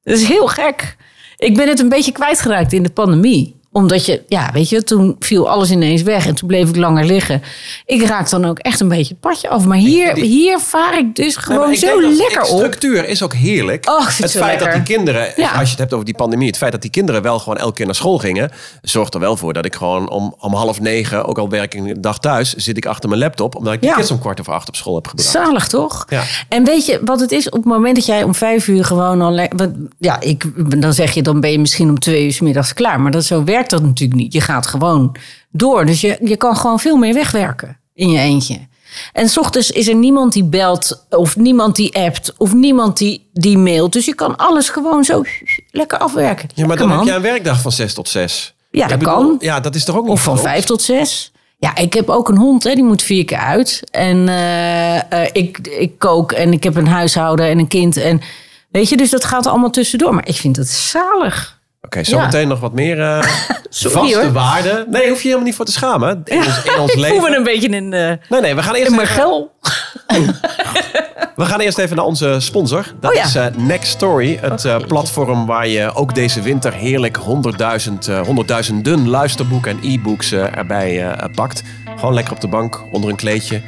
[SPEAKER 3] Dat is heel gek. Ik ben het een beetje kwijtgeraakt in de pandemie. Omdat je, ja, weet je, toen viel alles ineens weg en toen bleef ik langer liggen. Ik raak dan ook echt een beetje het padje af. Maar hier, hier vaar ik dus
[SPEAKER 4] Nee, maar
[SPEAKER 3] gewoon
[SPEAKER 4] ik
[SPEAKER 3] zo
[SPEAKER 4] denk dat-
[SPEAKER 3] lekker
[SPEAKER 4] ik-
[SPEAKER 3] op.
[SPEAKER 4] Structuur is ook heerlijk.
[SPEAKER 3] Oh, ik vind het
[SPEAKER 4] het
[SPEAKER 3] zo
[SPEAKER 4] feit
[SPEAKER 3] lekker.
[SPEAKER 4] dat die kinderen,
[SPEAKER 3] Ja.
[SPEAKER 4] als je het hebt over die pandemie, het feit dat die kinderen wel gewoon elke keer naar school gingen, zorgt er wel voor dat ik gewoon om, om half negen, ook al werk ik een dag thuis, zit ik achter mijn laptop, omdat ik de
[SPEAKER 3] Ja.
[SPEAKER 4] kids om kwart over acht op school heb gebracht.
[SPEAKER 3] Zalig toch?
[SPEAKER 4] Ja.
[SPEAKER 3] En weet je wat het is? Op het moment dat jij om vijf uur gewoon al. le- want Ja, ik, dan zeg je dan ben je misschien om twee uur 's middags klaar. Maar dat, zo werkt dat natuurlijk niet. Je gaat gewoon door. Dus je, je kan gewoon veel meer wegwerken in je eentje. En s ochtends is er niemand die belt, of niemand die appt, of niemand die, die mailt. Dus je kan alles gewoon zo lekker afwerken.
[SPEAKER 4] Ja, maar
[SPEAKER 3] Lekker,
[SPEAKER 4] dan heb
[SPEAKER 3] man.
[SPEAKER 4] jij een werkdag van 6 tot 6.
[SPEAKER 3] Ja, dat kan.
[SPEAKER 4] Ja, dat is toch ook niet
[SPEAKER 3] Of van
[SPEAKER 4] groot?
[SPEAKER 3] vijf tot zes. Ja, ik heb ook een hond, hè, die moet vier keer uit. En eh, eh, ik, ik kook en ik heb een huishouden en een kind. En, weet je, dus dat gaat allemaal tussendoor. Maar ik vind dat zalig.
[SPEAKER 4] Oké, zometeen nog wat meer eh, vaste
[SPEAKER 3] hoor.
[SPEAKER 4] waarden. Nee, hoef je helemaal niet voor te schamen. In ons, in ons
[SPEAKER 3] Ik voel me
[SPEAKER 4] leven.
[SPEAKER 3] een beetje een, eh
[SPEAKER 4] Nee, nee, we gaan eerst
[SPEAKER 3] een
[SPEAKER 4] even,
[SPEAKER 3] mergel.
[SPEAKER 4] we gaan eerst even naar onze sponsor. Dat
[SPEAKER 3] Oh ja. Oh,
[SPEAKER 4] is eh, Next Story, het eh, platform waar je ook deze winter heerlijk 100.000, eh, 100.000 luisterboeken en e-books eh, erbij eh, pakt. Gewoon lekker op de bank, onder een kleedje.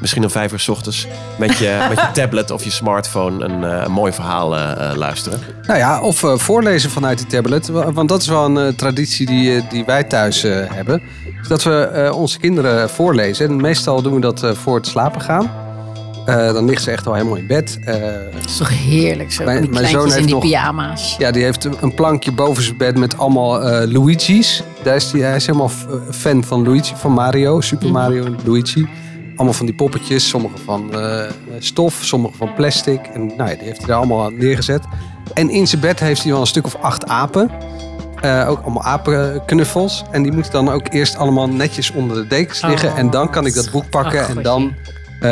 [SPEAKER 4] Misschien om vijf uur 's ochtends. Met je, met je tablet of je smartphone een, eh, een mooi verhaal eh, eh, luisteren.
[SPEAKER 2] Nou ja, of eh, voorlezen vanuit die tablet. wa- Want dat is wel een eh, traditie die, eh, die wij thuis eh, hebben. Is Dat we eh, onze kinderen voorlezen. En meestal doen we dat eh, voor het slapen gaan. Eh, dan ligt ze echt al helemaal in bed. Eh,
[SPEAKER 3] Dat is toch heerlijk zo,
[SPEAKER 2] Mijn-
[SPEAKER 3] die
[SPEAKER 2] mijn zoon
[SPEAKER 3] kleintjes in
[SPEAKER 2] heeft
[SPEAKER 3] die
[SPEAKER 2] nog-
[SPEAKER 3] pyjama's.
[SPEAKER 2] Ja, die heeft een plankje boven zijn bed met allemaal eh, Luigi's. Daar is die, hij is helemaal f- eh, fan van Luigi, van Mario, Super
[SPEAKER 3] Mhm.
[SPEAKER 2] Mario en Luigi. Allemaal van die poppetjes, sommige van eh, stof, sommige van plastic. En nou ja, die heeft hij daar allemaal aan neergezet. En in zijn bed heeft hij wel een stuk of acht apen. Eh, ook allemaal apenknuffels. En die moeten dan ook eerst allemaal netjes onder de dekens
[SPEAKER 3] Oh.
[SPEAKER 2] liggen. en dan kan ik dat boek pakken
[SPEAKER 3] Ach,
[SPEAKER 2] en
[SPEAKER 3] goeie.
[SPEAKER 2] dan eh,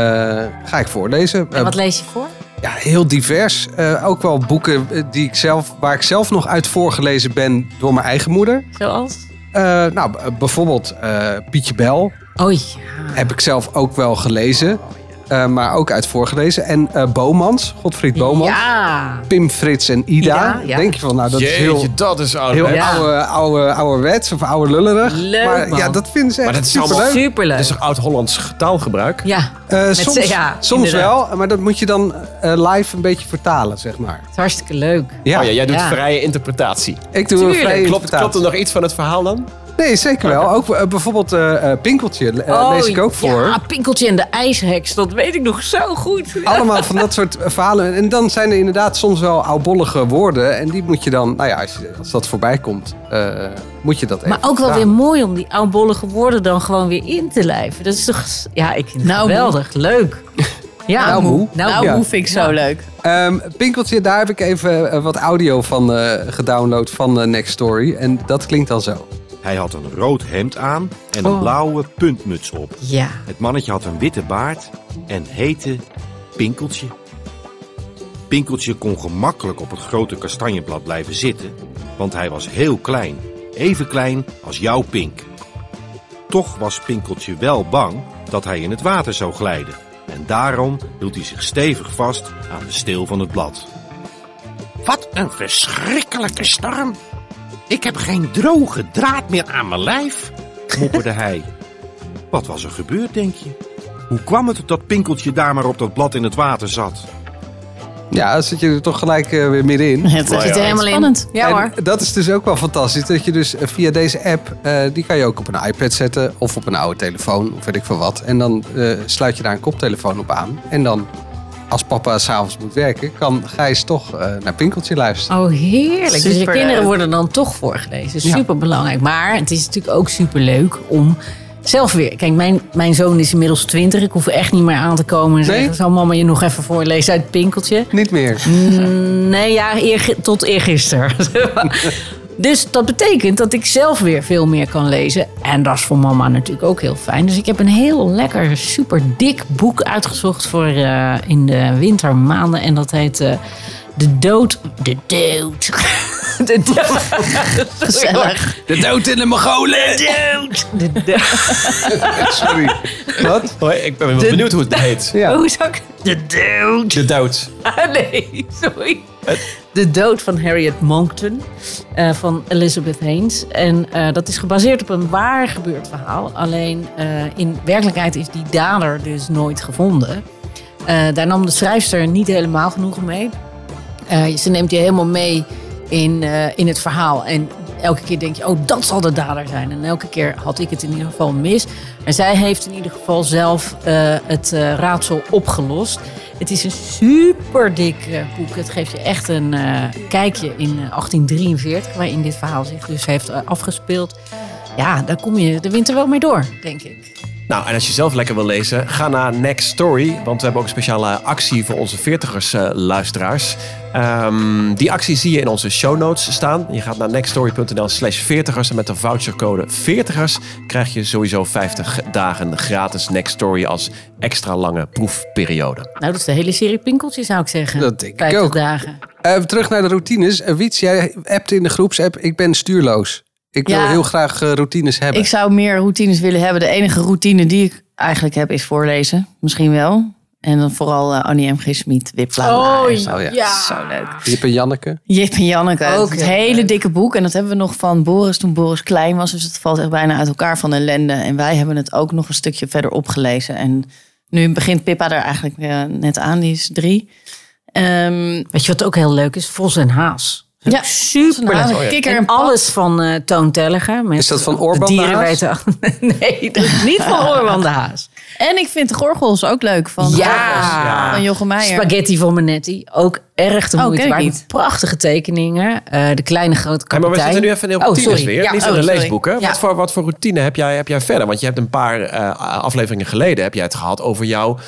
[SPEAKER 2] ga ik voorlezen.
[SPEAKER 3] En
[SPEAKER 2] Eh,
[SPEAKER 3] wat lees je voor?
[SPEAKER 2] ja, heel divers. Eh, ook wel boeken eh, die ik zelf, waar ik zelf nog uit voorgelezen ben door mijn eigen moeder.
[SPEAKER 3] Zoals?
[SPEAKER 2] Eh, nou, b- bijvoorbeeld eh, Pietje Bel
[SPEAKER 3] Oh ja.
[SPEAKER 2] heb ik zelf ook wel gelezen. eh, maar ook uit voorgelezen. En eh, Bomans, Godfried Bomans.
[SPEAKER 3] Ja.
[SPEAKER 2] Pim, Frits en Ida.
[SPEAKER 3] Ida, ja.
[SPEAKER 2] Denk je van, nou dat is heel,
[SPEAKER 4] dat is oud.
[SPEAKER 2] heel
[SPEAKER 4] hè?
[SPEAKER 3] Ja.
[SPEAKER 2] oude, oude, ouderwets of oude lullerig.
[SPEAKER 3] Leuk,
[SPEAKER 2] maar ja,
[SPEAKER 3] man.
[SPEAKER 2] dat vinden ze echt
[SPEAKER 4] Maar dat is allemaal-
[SPEAKER 2] superleuk.
[SPEAKER 4] Dat
[SPEAKER 3] Superleuk.
[SPEAKER 4] is toch oud-Hollands taalgebruik?
[SPEAKER 3] Ja,
[SPEAKER 2] Eh,
[SPEAKER 3] Met
[SPEAKER 2] soms
[SPEAKER 3] z'n- ja,
[SPEAKER 2] soms
[SPEAKER 3] inderdaad.
[SPEAKER 2] wel, maar dat moet je dan eh, live een beetje vertalen, zeg maar.
[SPEAKER 3] het is hartstikke leuk.
[SPEAKER 2] Ja,
[SPEAKER 4] Oh ja, jij doet
[SPEAKER 3] Ja.
[SPEAKER 4] vrije interpretatie.
[SPEAKER 2] ik doe een
[SPEAKER 3] tuurlijk.
[SPEAKER 2] vrije
[SPEAKER 4] Klopt, klopt er
[SPEAKER 2] interpretatie.
[SPEAKER 4] nog iets van het verhaal dan?
[SPEAKER 2] Nee, zeker wel. Ook eh, bijvoorbeeld eh, eh, Pinkeltje eh,
[SPEAKER 3] Oh,
[SPEAKER 2] lees ik ook voor. Oh,
[SPEAKER 3] Ja, Pinkeltje en de ijsheks, dat weet ik nog zo goed.
[SPEAKER 2] Allemaal van dat soort eh, verhalen. En dan zijn er inderdaad soms wel oudbollige woorden. En die moet je dan, nou ja, als, je, als dat voorbij komt, eh, moet je dat even
[SPEAKER 3] Maar ook wel weer
[SPEAKER 2] vertalen.
[SPEAKER 3] mooi om die oudbollige woorden dan gewoon weer in te lijven. Dat is toch... Ja, ik vind het
[SPEAKER 1] Nou,
[SPEAKER 3] geweldig. Leuk. Ja,
[SPEAKER 2] Nou, moe.
[SPEAKER 3] Nou,
[SPEAKER 1] Nou,
[SPEAKER 2] ja.
[SPEAKER 1] hoe vind ik zo leuk.
[SPEAKER 2] Ehm, Pinkeltje, daar heb ik even eh, wat audio van eh, gedownload van eh, Next Story. En dat klinkt dan zo.
[SPEAKER 6] Hij had een rood hemd aan en een
[SPEAKER 3] Oh.
[SPEAKER 6] blauwe puntmuts op.
[SPEAKER 3] Ja.
[SPEAKER 6] Het mannetje had een witte baard en heette Pinkeltje. Pinkeltje kon gemakkelijk op het grote kastanjeblad blijven zitten, want hij was heel klein. Even klein als jouw Pink. Toch was Pinkeltje wel bang dat hij in het water zou glijden. En daarom hield hij zich stevig vast aan de steel van het blad. Wat een verschrikkelijke storm! Ik heb geen droge draad meer aan mijn lijf, mopperde hij. Wat was er gebeurd, denk je? Hoe kwam het dat Pinkeltje daar maar op dat blad in het water zat?
[SPEAKER 2] Ja, dan zit je er toch gelijk eh, weer middenin.
[SPEAKER 1] Het
[SPEAKER 3] zit er helemaal in.
[SPEAKER 1] Spannend.
[SPEAKER 3] Ja
[SPEAKER 2] En
[SPEAKER 3] hoor.
[SPEAKER 2] dat is dus ook wel fantastisch. Dat je dus eh, via deze app, eh, die kan je ook op een iPad zetten. Of op een oude telefoon, of weet ik veel wat. En dan eh, sluit je daar een koptelefoon op aan. En dan, als papa s'avonds moet werken, kan Gijs toch eh, naar Pinkeltje luisteren.
[SPEAKER 3] Oh, heerlijk. dus je
[SPEAKER 1] Superleuk.
[SPEAKER 3] kinderen worden dan toch voorgelezen.
[SPEAKER 2] Ja.
[SPEAKER 3] Superbelangrijk. Maar het is natuurlijk ook superleuk om zelf weer... Kijk, mijn, mijn zoon is inmiddels 20. Ik hoef echt niet meer aan te komen en
[SPEAKER 2] Nee?
[SPEAKER 3] zeggen... Zal mama je nog even voorlezen uit Pinkeltje?
[SPEAKER 2] Niet meer.
[SPEAKER 3] Nee, ja, eer, tot eergisteren. dus dat betekent dat ik zelf weer veel meer kan lezen. En dat is voor mama natuurlijk ook heel fijn. Dus ik heb een heel lekker, super dik boek uitgezocht voor eh, in de wintermaanden. En dat heet eh, De Dood. De Dood. De Dood.
[SPEAKER 1] Gezellig.
[SPEAKER 2] De dood in de Mongolen!
[SPEAKER 3] De dood.
[SPEAKER 2] Sorry. Wat?
[SPEAKER 4] Hoi, ik ben wel benieuwd hoe het heet.
[SPEAKER 2] Ja.
[SPEAKER 3] Hoe zou ik... De Dood.
[SPEAKER 4] De Duits.
[SPEAKER 3] Ah, nee, sorry. De dood van Harriet Monckton eh, van Elizabeth Haynes. En eh, dat is gebaseerd op een waar gebeurd verhaal. Alleen eh, in werkelijkheid is die dader dus nooit gevonden. Eh, daar nam de schrijfster niet helemaal genoegen mee. Eh, ze neemt je helemaal mee in, eh, in het verhaal. En elke keer denk je, oh, dat zal de dader zijn. En elke keer had ik het in ieder geval mis. Maar zij heeft in ieder geval zelf eh, het eh, raadsel opgelost. Het is een super dik eh, boek. Het geeft je echt een eh, kijkje in eh, 1843, waarin dit verhaal zich dus heeft eh, afgespeeld. Ja, daar kom je de winter wel mee door, denk ik.
[SPEAKER 4] Nou, en als je zelf lekker wil lezen, ga naar Next Story. Want we hebben ook een speciale actie voor onze 40ers-luisteraars. Ehm, die actie zie je in onze show notes staan. Je gaat naar nextstory.nl slash 40ers. En met de vouchercode 40ers krijg je sowieso 50 dagen gratis Next Story als extra lange proefperiode.
[SPEAKER 3] Nou, dat is de hele serie Pinkeltjes, zou ik zeggen.
[SPEAKER 2] Dat denk ik
[SPEAKER 3] 50
[SPEAKER 2] ook.
[SPEAKER 3] dagen.
[SPEAKER 2] Eh, terug naar de routines. Eh, Wiets, jij appt in de groepsapp. Ik ben stuurloos. Ik wil
[SPEAKER 1] Ja.
[SPEAKER 2] heel graag eh, routines hebben.
[SPEAKER 1] Ik zou meer routines willen hebben. De enige routine die ik eigenlijk heb is voorlezen. Misschien wel. En dan vooral eh, Annie M. G. Schmid, Wip
[SPEAKER 3] Oh,
[SPEAKER 1] bla, bla en zo.
[SPEAKER 2] ja.
[SPEAKER 1] Zo leuk.
[SPEAKER 2] Jip en Janneke.
[SPEAKER 1] Jip en Janneke.
[SPEAKER 3] Ook
[SPEAKER 1] het
[SPEAKER 3] heel
[SPEAKER 1] hele
[SPEAKER 3] leuk.
[SPEAKER 1] dikke boek. En dat hebben we nog van Boris toen Boris klein was. Dus het valt echt bijna uit elkaar van ellende. En wij hebben het ook nog een stukje verder opgelezen. En nu begint Pippa er eigenlijk eh, net aan. Die is drie. Ehm
[SPEAKER 3] Weet je wat ook heel leuk is? Vos en Haas.
[SPEAKER 1] ja,
[SPEAKER 3] superleuk.
[SPEAKER 1] Een Kikker en
[SPEAKER 3] En
[SPEAKER 1] alles.
[SPEAKER 3] alles van eh Toon Telliger. Met
[SPEAKER 2] Is dat van Orban de Haas?
[SPEAKER 3] dierenweten- Nee, dat is niet van Orban de Haas.
[SPEAKER 1] En ik vind de gorgels ook leuk. Van,
[SPEAKER 3] Ja.
[SPEAKER 1] van Jochem Meijer.
[SPEAKER 3] Spaghetti van Manetti. Ook erg de
[SPEAKER 1] Oh,
[SPEAKER 3] moeite
[SPEAKER 1] ken ik
[SPEAKER 3] waard.
[SPEAKER 1] niet.
[SPEAKER 3] Prachtige tekeningen. Eh, de kleine grote
[SPEAKER 4] Hey,
[SPEAKER 3] kapitein.
[SPEAKER 4] maar we zitten nu even in de
[SPEAKER 3] Oh,
[SPEAKER 4] routines
[SPEAKER 3] sorry.
[SPEAKER 4] weer.
[SPEAKER 3] Ja,
[SPEAKER 4] Niet
[SPEAKER 1] oh,
[SPEAKER 4] in de
[SPEAKER 1] sorry.
[SPEAKER 4] leesboeken.
[SPEAKER 3] Ja.
[SPEAKER 4] Wat, voor, wat voor routine heb jij, heb jij verder? Want je hebt een paar eh, afleveringen geleden heb jij het gehad over jouw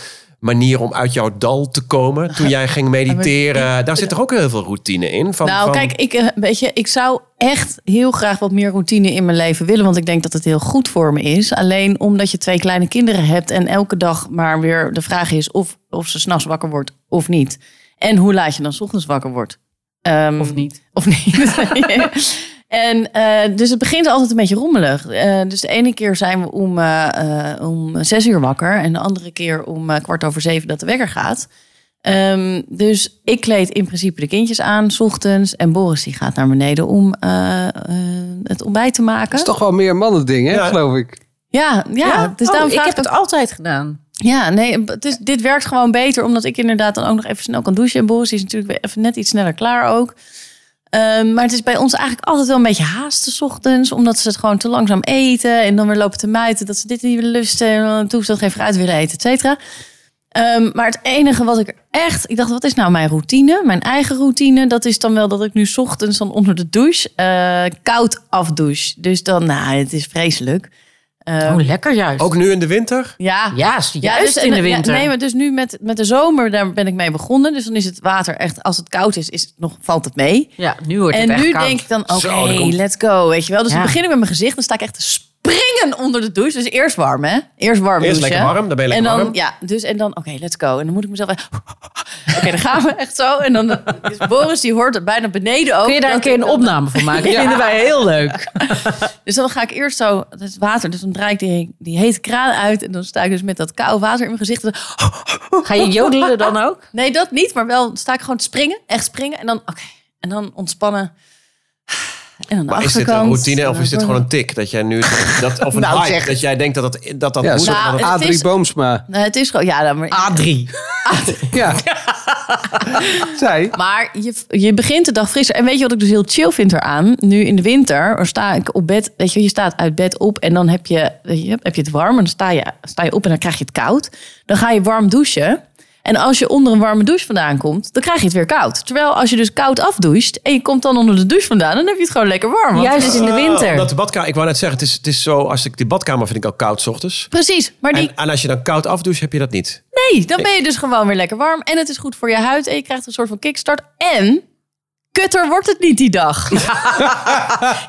[SPEAKER 4] manier om uit jouw dal te komen toen jij ging mediteren? Daar zit er ook heel veel routine in. Van,
[SPEAKER 1] nou,
[SPEAKER 4] van-
[SPEAKER 1] kijk, ik, eh, weet je, ik zou echt heel graag wat meer routine in mijn leven willen. Want ik denk dat het heel goed voor me is. Alleen omdat je twee kleine kinderen hebt en elke dag maar weer de vraag is of, of ze s'nachts wakker wordt of niet. En hoe laat je dan 's ochtends wakker wordt. Ehm,
[SPEAKER 3] Of niet?
[SPEAKER 1] Of niet. en eh, dus het begint altijd een beetje rommelig. Eh, dus de ene keer zijn we om, eh, eh, om zes uur wakker. En de andere keer om eh, kwart over zeven dat de wekker gaat. Ehm, dus ik kleed in principe de kindjes aan, s ochtends. En Boris die gaat naar beneden om eh, eh, het ontbijt te maken.
[SPEAKER 2] Dat is toch wel meer mannen ding, hè,
[SPEAKER 4] Ja.
[SPEAKER 2] geloof ik.
[SPEAKER 1] Ja, ja, dus daarom
[SPEAKER 3] Oh, ik
[SPEAKER 1] vraag
[SPEAKER 3] heb het altijd gedaan.
[SPEAKER 1] ja, nee, het is, dit werkt gewoon beter. Omdat ik inderdaad dan ook nog even snel kan douchen. En Boris is natuurlijk weer even net iets sneller klaar ook. Ehm, maar het is bij ons eigenlijk altijd wel een beetje haasten 's ochtends. Omdat ze het gewoon te langzaam eten. En dan weer lopen te muiten. Dat ze dit niet willen lusten. En dan toestel geen fruit willen eten, et cetera. Ehm, maar het enige wat ik er echt... Ik dacht, wat is nou mijn routine? Mijn eigen routine. Dat is dan wel dat ik nu 's ochtends dan onder de douche... eh, koud afdouche. Dus dan, nou, het is vreselijk. Ehm,
[SPEAKER 3] oh, lekker juist.
[SPEAKER 4] Ook nu in de winter?
[SPEAKER 1] ja,
[SPEAKER 3] ja, juist
[SPEAKER 1] dus-
[SPEAKER 3] in
[SPEAKER 1] en-
[SPEAKER 3] de winter.
[SPEAKER 1] Ja, nee, maar dus nu met, met de zomer, daar ben ik mee begonnen. Dus dan is het water echt, als het koud is, is het nog, valt het mee.
[SPEAKER 3] ja, nu wordt
[SPEAKER 1] en
[SPEAKER 3] het echt
[SPEAKER 1] nu
[SPEAKER 3] koud.
[SPEAKER 1] denk ik dan, oké,
[SPEAKER 4] Zo, dan komt-
[SPEAKER 1] let's go, weet je wel. Dus
[SPEAKER 3] Ja.
[SPEAKER 1] dan begin ik met mijn gezicht, dan sta ik echt te springen onder de douche. Dus eerst warm, hè? Eerst warm
[SPEAKER 4] Eerst
[SPEAKER 1] douchen.
[SPEAKER 4] lekker warm, dan ben je
[SPEAKER 1] En
[SPEAKER 4] lekker
[SPEAKER 1] dan,
[SPEAKER 4] warm.
[SPEAKER 1] ja, dus en dan, oké, let's go. En dan moet ik mezelf, echt- oké, dan gaan we echt zo. En dan, dus Boris, die hoort het bijna beneden ook.
[SPEAKER 3] Kun je daar een
[SPEAKER 1] Dat
[SPEAKER 3] keer
[SPEAKER 1] ik
[SPEAKER 3] een
[SPEAKER 1] dan-
[SPEAKER 3] opname van maken? Dat vinden wij heel leuk.
[SPEAKER 1] Dus dan ga ik eerst zo, dat is water, dus dan draai ik die, die hete kraan uit. En dan sta ik dus met dat koude water in mijn gezicht. En dan-
[SPEAKER 3] Ga je jodelen dan ook?
[SPEAKER 1] Nee, dat niet, maar wel sta ik gewoon te springen. Echt springen. En dan, oké. En dan ontspannen. En dan de
[SPEAKER 4] Maar is dit
[SPEAKER 1] achterkant.
[SPEAKER 4] een routine of is dit
[SPEAKER 1] Nou,
[SPEAKER 4] gewoon een tik? Dat jij nu, dat, of een
[SPEAKER 3] Nou,
[SPEAKER 4] hype,
[SPEAKER 3] zeg.
[SPEAKER 4] dat jij denkt dat dat, dat, dat
[SPEAKER 2] Ja,
[SPEAKER 4] moet?
[SPEAKER 2] zo-
[SPEAKER 4] of dat
[SPEAKER 1] Nou,
[SPEAKER 4] het-
[SPEAKER 1] het
[SPEAKER 2] Adrie
[SPEAKER 1] is-
[SPEAKER 2] Boomsma.
[SPEAKER 1] Nee, het is gewoon, ja, nou,
[SPEAKER 4] Ah.
[SPEAKER 1] maar,
[SPEAKER 3] A3.
[SPEAKER 2] Ja. Zij.
[SPEAKER 1] maar je, je begint de dag frisser. En weet je wat ik dus heel chill vind eraan? Nu in de winter, er sta ik op bed, weet je, je staat uit bed op en dan heb je, weet je, heb je het warm. En dan sta je, sta je op en dan krijg je het koud. Dan ga je warm douchen. En als je onder een warme douche vandaan komt, dan krijg je het weer koud. Terwijl als je dus koud afdoucht en je komt dan onder de douche vandaan, dan heb je het gewoon lekker warm. Want-
[SPEAKER 3] Juist in de
[SPEAKER 4] Ah,
[SPEAKER 3] winter.
[SPEAKER 4] omdat de badkamer, ik wou net zeggen, het is, het is zo, als ik die badkamer vind ik al koud 's ochtends.
[SPEAKER 1] Precies, maar die
[SPEAKER 4] En, en als je dan koud afdoucht, heb je dat niet.
[SPEAKER 1] Nee, dan ben je dus gewoon weer lekker warm. En het is goed voor je huid. En je krijgt een soort van kickstart. En kutter wordt het niet die dag.
[SPEAKER 3] Je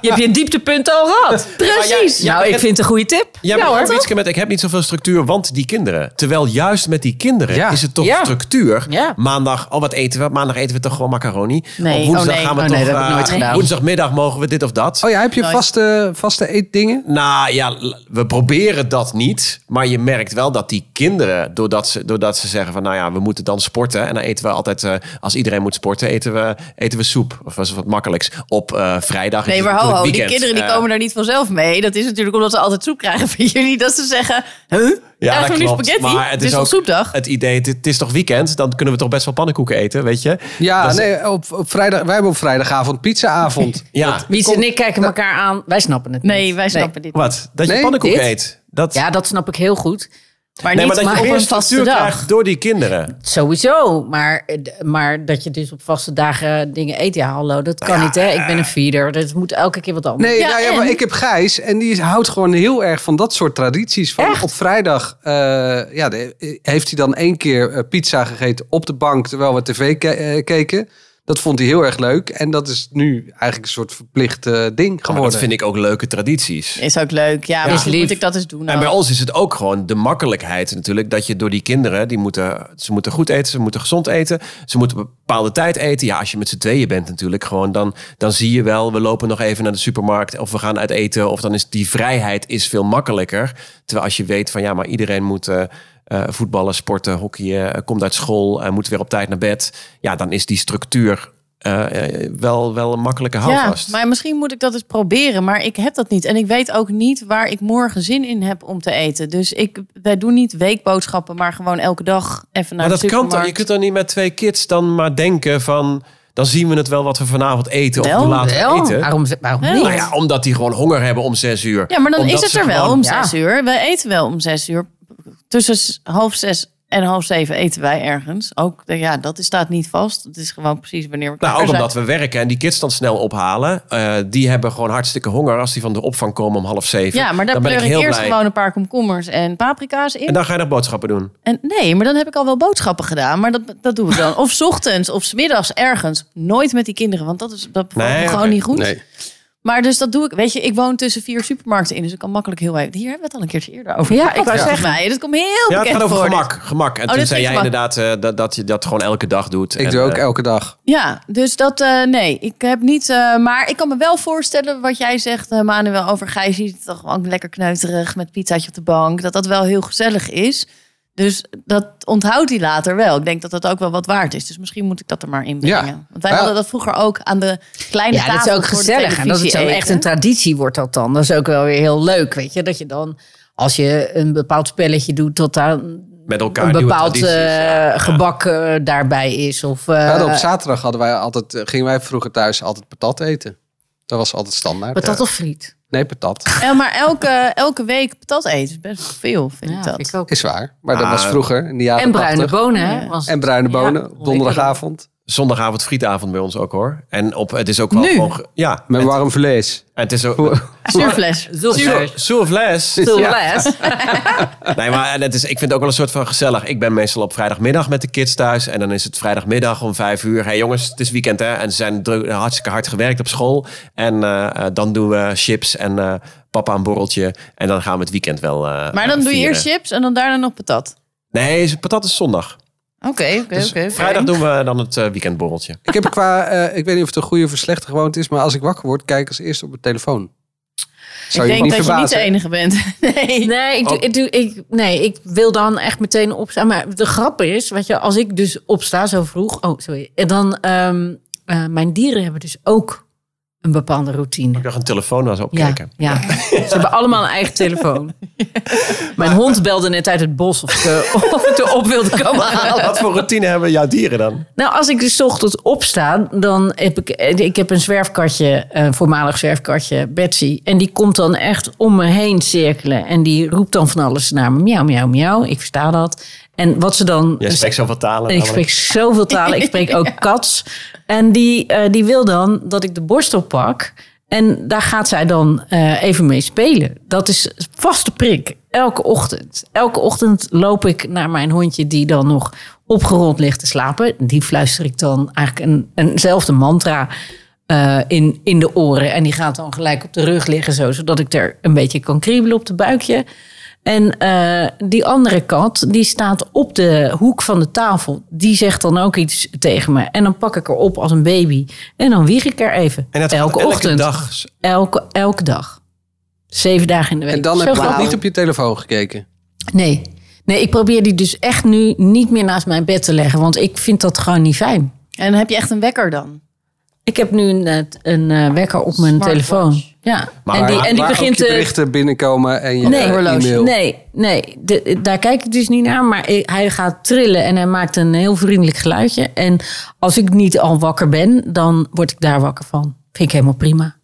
[SPEAKER 3] hebt je dieptepunt al gehad.
[SPEAKER 1] Precies.
[SPEAKER 4] Ja,
[SPEAKER 3] nou,
[SPEAKER 4] maar
[SPEAKER 3] ik
[SPEAKER 4] het-
[SPEAKER 3] vind het een goede tip.
[SPEAKER 4] Ja, maar Wietske met ik heb niet zoveel structuur, want die kinderen. Terwijl juist met die kinderen
[SPEAKER 2] Ja.
[SPEAKER 4] is het toch
[SPEAKER 3] Ja.
[SPEAKER 4] structuur.
[SPEAKER 3] Ja.
[SPEAKER 4] Maandag, oh wat eten we? Maandag eten we toch gewoon macaroni?
[SPEAKER 1] Nee,
[SPEAKER 4] Op woensdag
[SPEAKER 1] oh nee.
[SPEAKER 4] gaan we
[SPEAKER 1] Oh
[SPEAKER 4] toch...
[SPEAKER 3] nee, dat heb ik
[SPEAKER 4] eh,
[SPEAKER 3] nooit gedaan.
[SPEAKER 4] Woensdagmiddag mogen we dit of dat.
[SPEAKER 2] Oh ja, heb je
[SPEAKER 3] Nou,
[SPEAKER 1] Nooit.
[SPEAKER 2] vaste, vaste eetdingen?
[SPEAKER 4] Nou ja, l- we proberen dat niet. Maar je merkt wel dat die kinderen, doordat ze, doordat ze zeggen van... nou ja, we moeten dan sporten. En dan eten we altijd, eh, als iedereen moet sporten, eten we, eten we soep. Of was het wat makkelijks. Op eh, vrijdag.
[SPEAKER 1] Nee,
[SPEAKER 4] is
[SPEAKER 1] maar
[SPEAKER 4] het
[SPEAKER 1] ho, ho, die
[SPEAKER 4] weekend.
[SPEAKER 1] kinderen die
[SPEAKER 4] Eh,
[SPEAKER 1] komen daar niet vanzelf mee. Dat is natuurlijk omdat ze altijd soep krijgen van jullie. Dat ze zeggen, huh? Ja,
[SPEAKER 4] dat
[SPEAKER 1] gewoon nu
[SPEAKER 4] klopt.
[SPEAKER 1] spaghetti.
[SPEAKER 4] Maar
[SPEAKER 1] het is, toch soepdag?
[SPEAKER 4] Het idee, het, het is toch weekend? Dan kunnen we toch best wel pannenkoeken eten, weet je?
[SPEAKER 2] Ja,
[SPEAKER 4] Dat is-
[SPEAKER 2] nee, op, op vrijdag, wij hebben op vrijdagavond pizzaavond.
[SPEAKER 4] Ja,
[SPEAKER 3] Wietse en ik kijken elkaar aan. Wij snappen het
[SPEAKER 1] Nee,
[SPEAKER 3] niet.
[SPEAKER 1] wij snappen dit.
[SPEAKER 4] wat? Dat je
[SPEAKER 2] Nee,
[SPEAKER 4] pannenkoeken
[SPEAKER 3] dit?
[SPEAKER 4] eet. Dat,
[SPEAKER 3] Ja, dat snap ik heel goed.
[SPEAKER 1] Maar
[SPEAKER 4] nee,
[SPEAKER 1] niet
[SPEAKER 4] maar dat
[SPEAKER 1] maar
[SPEAKER 4] je
[SPEAKER 1] op
[SPEAKER 4] meer
[SPEAKER 1] een vaste
[SPEAKER 4] structuur
[SPEAKER 1] dag.
[SPEAKER 4] krijgt door die kinderen.
[SPEAKER 3] Sowieso. Maar, eh, d- maar dat je dus op vaste dagen dingen eet. Ja, hallo, dat kan niet hè. Ik ben een feeder. Dat moet elke keer wat anders.
[SPEAKER 2] Nee,
[SPEAKER 1] Ja,
[SPEAKER 2] nou ja, maar
[SPEAKER 1] en?
[SPEAKER 2] ik heb Gijs en die houdt gewoon heel erg van dat soort tradities. Van
[SPEAKER 3] Echt?
[SPEAKER 2] Op vrijdag eh, ja, de- heeft hij dan één keer eh, pizza gegeten op de bank terwijl we tv ke- eh, keken. Dat vond hij heel erg leuk en dat is nu eigenlijk een soort verplicht eh, ding
[SPEAKER 4] Maar
[SPEAKER 2] geworden.
[SPEAKER 4] Nou, dat vind ik ook leuke tradities.
[SPEAKER 1] Is ook leuk. Ja,
[SPEAKER 3] Is
[SPEAKER 1] misschien
[SPEAKER 3] lief.
[SPEAKER 1] moet ik dat eens doen. nou.
[SPEAKER 4] En bij
[SPEAKER 1] ook.
[SPEAKER 4] ons is het ook gewoon de makkelijkheid natuurlijk. Dat je door die kinderen, die moeten, ze moeten goed eten, ze moeten gezond eten. Ze moeten op een bepaalde tijd eten. Ja, als je met z'n tweeën bent natuurlijk gewoon, dan, dan zie je wel, we lopen nog even naar de supermarkt of we gaan uit eten. Of dan is die vrijheid is veel makkelijker. Terwijl als je weet van ja, maar iedereen moet eh, eh, voetballen, sporten, hockeyen, eh, komt uit school en moet weer op tijd naar bed. Ja, dan is die structuur eh, eh, wel, wel een makkelijke houvast.
[SPEAKER 1] Ja, maar misschien moet ik dat eens proberen. Maar ik heb dat niet. En ik weet ook niet waar ik morgen zin in heb om te eten. Dus ik, wij doen niet weekboodschappen, maar gewoon elke dag even naar
[SPEAKER 4] Maar
[SPEAKER 1] de
[SPEAKER 4] dat kan toch?
[SPEAKER 1] supermarkt.
[SPEAKER 4] Je kunt dan niet met twee kids dan maar denken van... dan zien we het wel wat we vanavond eten of
[SPEAKER 1] Wel,
[SPEAKER 4] hoe laat we
[SPEAKER 3] Wel,
[SPEAKER 4] eten.
[SPEAKER 3] waarom, waarom
[SPEAKER 1] Wel.
[SPEAKER 3] niet?
[SPEAKER 4] Nou ja, omdat die gewoon honger hebben om zes uur.
[SPEAKER 1] Ja, maar dan
[SPEAKER 4] Omdat
[SPEAKER 1] is het
[SPEAKER 4] ze
[SPEAKER 1] er wel
[SPEAKER 4] gewoon-
[SPEAKER 1] om
[SPEAKER 3] Ja.
[SPEAKER 1] zes uur. Wij eten wel om zes uur. Tussen s- half zes En half zeven eten wij ergens. Ook, eh, ja, dat is- staat niet vast. Het is gewoon precies wanneer we
[SPEAKER 4] Nou,
[SPEAKER 1] klaar
[SPEAKER 4] ook
[SPEAKER 1] zijn.
[SPEAKER 4] omdat we werken en die kids dan snel ophalen. Eh, die hebben gewoon hartstikke honger als die van de opvang komen om half zeven.
[SPEAKER 1] Ja, maar daar
[SPEAKER 4] dan ben
[SPEAKER 1] pleur
[SPEAKER 4] ik
[SPEAKER 1] ik
[SPEAKER 4] heel
[SPEAKER 1] eerst
[SPEAKER 4] blij.
[SPEAKER 1] gewoon een paar komkommers en paprika's in.
[SPEAKER 4] En dan ga je nog boodschappen doen.
[SPEAKER 1] En nee, maar dan heb ik al wel boodschappen gedaan. Maar dat, dat doen we dan. Of 's ochtends of 's middags ergens. Nooit met die kinderen, want dat, is, dat bevalt
[SPEAKER 4] Nee,
[SPEAKER 1] me gewoon
[SPEAKER 4] oké.
[SPEAKER 1] niet goed.
[SPEAKER 2] Nee.
[SPEAKER 1] Maar dus dat doe ik. Weet je, ik woon tussen vier supermarkten in. Dus ik kan makkelijk heel weinig. Hier hebben we het al een keertje eerder over.
[SPEAKER 3] Ja, ik
[SPEAKER 1] dat
[SPEAKER 3] wou
[SPEAKER 1] zeg mij. Dat komt heel
[SPEAKER 4] Ja, het
[SPEAKER 1] bekend
[SPEAKER 4] gaat over
[SPEAKER 1] voor.
[SPEAKER 4] gemak. gemak. En
[SPEAKER 1] Oh,
[SPEAKER 4] toen
[SPEAKER 1] dat
[SPEAKER 4] zei jij
[SPEAKER 1] vind ik
[SPEAKER 4] inderdaad eh, dat, dat je dat gewoon elke dag doet.
[SPEAKER 2] Ik
[SPEAKER 4] En,
[SPEAKER 2] doe ook
[SPEAKER 4] eh,
[SPEAKER 2] elke dag.
[SPEAKER 1] Ja, dus dat, eh, nee, ik heb niet, eh, maar ik kan me wel voorstellen wat jij zegt, eh, Manuel, over Gijs, die het toch gewoon lekker kneuterig met pizzaatje op de bank, dat dat wel heel gezellig is. Dus dat onthoudt hij later wel. Ik denk dat dat ook wel wat waard is. Dus misschien moet ik dat er maar in brengen.
[SPEAKER 2] Ja.
[SPEAKER 1] Want wij
[SPEAKER 2] Ja.
[SPEAKER 1] hadden dat vroeger ook aan de kleine
[SPEAKER 3] Ja,
[SPEAKER 1] tafel
[SPEAKER 3] dat is ook
[SPEAKER 1] voor de
[SPEAKER 3] gezellig. En dat het zo
[SPEAKER 1] televisie
[SPEAKER 3] echt
[SPEAKER 1] eten.
[SPEAKER 3] een traditie wordt dat dan. Dat is ook wel weer heel leuk, weet je. Dat je dan, als je een bepaald spelletje doet, dat daar een
[SPEAKER 4] met elkaar nieuwe
[SPEAKER 3] bepaald
[SPEAKER 4] tradities.
[SPEAKER 3] eh, gebak eh, daarbij is. Of, eh,
[SPEAKER 2] We hadden op zaterdag hadden wij altijd, eh, gingen wij vroeger thuis altijd patat eten. Dat was altijd standaard.
[SPEAKER 3] patat of friet.
[SPEAKER 2] Nee, patat.
[SPEAKER 1] Ja, maar elke, elke week patat eten is best wel veel, vind ik dat.
[SPEAKER 3] vind ik ook.
[SPEAKER 2] Is waar. Maar dat
[SPEAKER 4] Ah.
[SPEAKER 2] was vroeger in de jaren
[SPEAKER 3] En bruine
[SPEAKER 2] 80.
[SPEAKER 3] bonen, hè?
[SPEAKER 1] Ja.
[SPEAKER 3] was-
[SPEAKER 2] En bruine bonen
[SPEAKER 3] Ja,
[SPEAKER 2] op donderdagavond.
[SPEAKER 4] Zondagavond frietavond bij ons ook hoor. En op, het is ook wel
[SPEAKER 1] Nu?
[SPEAKER 4] gewoon... ge- Ja,
[SPEAKER 2] Met
[SPEAKER 4] en,
[SPEAKER 2] warm vlees.
[SPEAKER 4] en het is ook...
[SPEAKER 1] Surfles.
[SPEAKER 4] Sur- Surfles.
[SPEAKER 3] Still less.
[SPEAKER 4] Nee, maar en het is, ik vind het ook wel een soort van gezellig. Ik ben meestal op vrijdagmiddag met de kids thuis. En dan is het vrijdagmiddag om vijf uur. hey jongens, het is weekend hè. En ze zijn druk, hartstikke hard gewerkt op school. En eh, eh, dan doen we chips en eh, papa een borreltje. En dan gaan we het weekend wel eh,
[SPEAKER 1] Maar dan doe
[SPEAKER 4] eh,
[SPEAKER 1] je
[SPEAKER 4] vieren.
[SPEAKER 1] eerst chips en dan daarna nog patat.
[SPEAKER 4] Nee, is- patat is zondag.
[SPEAKER 1] Oké, oké,
[SPEAKER 4] Dus
[SPEAKER 1] oké. oké.
[SPEAKER 4] vrijdag doen we dan het eh, weekendborreltje.
[SPEAKER 2] Ik heb qua, eh, ik weet niet of het een goede of een slechte gewoonte is, maar als ik wakker word, kijk als eerste op mijn telefoon. Zou
[SPEAKER 1] Ik
[SPEAKER 2] je
[SPEAKER 1] denk
[SPEAKER 2] niet
[SPEAKER 1] dat je niet
[SPEAKER 2] verbazen?
[SPEAKER 1] de enige bent. Nee.
[SPEAKER 3] Nee ik, doe, ik, doe, ik, nee, ik wil dan echt meteen opstaan. Maar de grap is, weet je, als ik dus opsta zo vroeg... Oh, sorry. En dan, ehm, eh, mijn dieren hebben dus ook een bepaalde routine.
[SPEAKER 4] Ik dacht een telefoon was
[SPEAKER 3] Ja,
[SPEAKER 4] opkijken.
[SPEAKER 3] ja. ze hebben allemaal een eigen telefoon. Mijn hond belde net uit het bos of ze, of ik er op wilde komen halen.
[SPEAKER 4] Wat voor routine hebben jouw dieren dan?
[SPEAKER 3] Nou, als ik dus 's ochtends opsta, dan heb ik, eh, ik heb een zwerfkatje, een voormalig zwerfkatje, Betsy. En die komt dan echt om me heen cirkelen. En die roept dan van alles naar me. Miauw, miauw, miauw. Ik versta dat. En wat ze dan...
[SPEAKER 4] Jij spreekt zoveel talen.
[SPEAKER 3] En Dus ik
[SPEAKER 4] namelijk.
[SPEAKER 3] spreek zoveel talen. Ik spreek ook kats. En die, eh, die wil dan dat ik de borstel pak. En daar gaat zij dan eh, even mee spelen. Dat is vaste prik. Elke ochtend. Elke ochtend loop ik naar mijn hondje die dan nog opgerold ligt te slapen. Die fluister ik dan eigenlijk een, eenzelfde mantra eh, in, in de oren. En die gaat dan gelijk op de rug liggen zo. Zodat ik er een beetje kan kriebelen op de buikje. En eh, die andere kat, die staat op de hoek van de tafel. Die zegt dan ook iets tegen me. En dan pak ik haar op als een baby. En dan wieg ik er even.
[SPEAKER 4] En dat gaat
[SPEAKER 3] elke
[SPEAKER 4] elke
[SPEAKER 3] ochtend.
[SPEAKER 4] dag.
[SPEAKER 3] Elke, elke dag. Zeven dagen in de week.
[SPEAKER 2] En dan
[SPEAKER 3] Zo
[SPEAKER 2] heb je nog
[SPEAKER 3] grappig.
[SPEAKER 2] niet op je telefoon gekeken.
[SPEAKER 3] Nee. nee, ik probeer die dus echt nu niet meer naast mijn bed te leggen. Want ik vind dat gewoon niet fijn.
[SPEAKER 1] En heb je echt een wekker dan?
[SPEAKER 3] Ik heb nu een, eh, t- een eh, wekker op mijn
[SPEAKER 1] Smartwatch.
[SPEAKER 3] telefoon. Ja.
[SPEAKER 4] Maar-
[SPEAKER 3] en die, en die
[SPEAKER 2] Waar ook
[SPEAKER 3] begint
[SPEAKER 2] je
[SPEAKER 3] te,
[SPEAKER 2] berichten binnenkomen en je
[SPEAKER 3] Nee,
[SPEAKER 2] eh,
[SPEAKER 3] horloge.
[SPEAKER 2] e-mail.
[SPEAKER 3] Nee, nee de- daar kijk ik dus niet naar. Maar i- hij gaat trillen en hij maakt een heel vriendelijk geluidje. En als ik niet al wakker ben, dan word ik daar wakker van. Vind ik helemaal prima.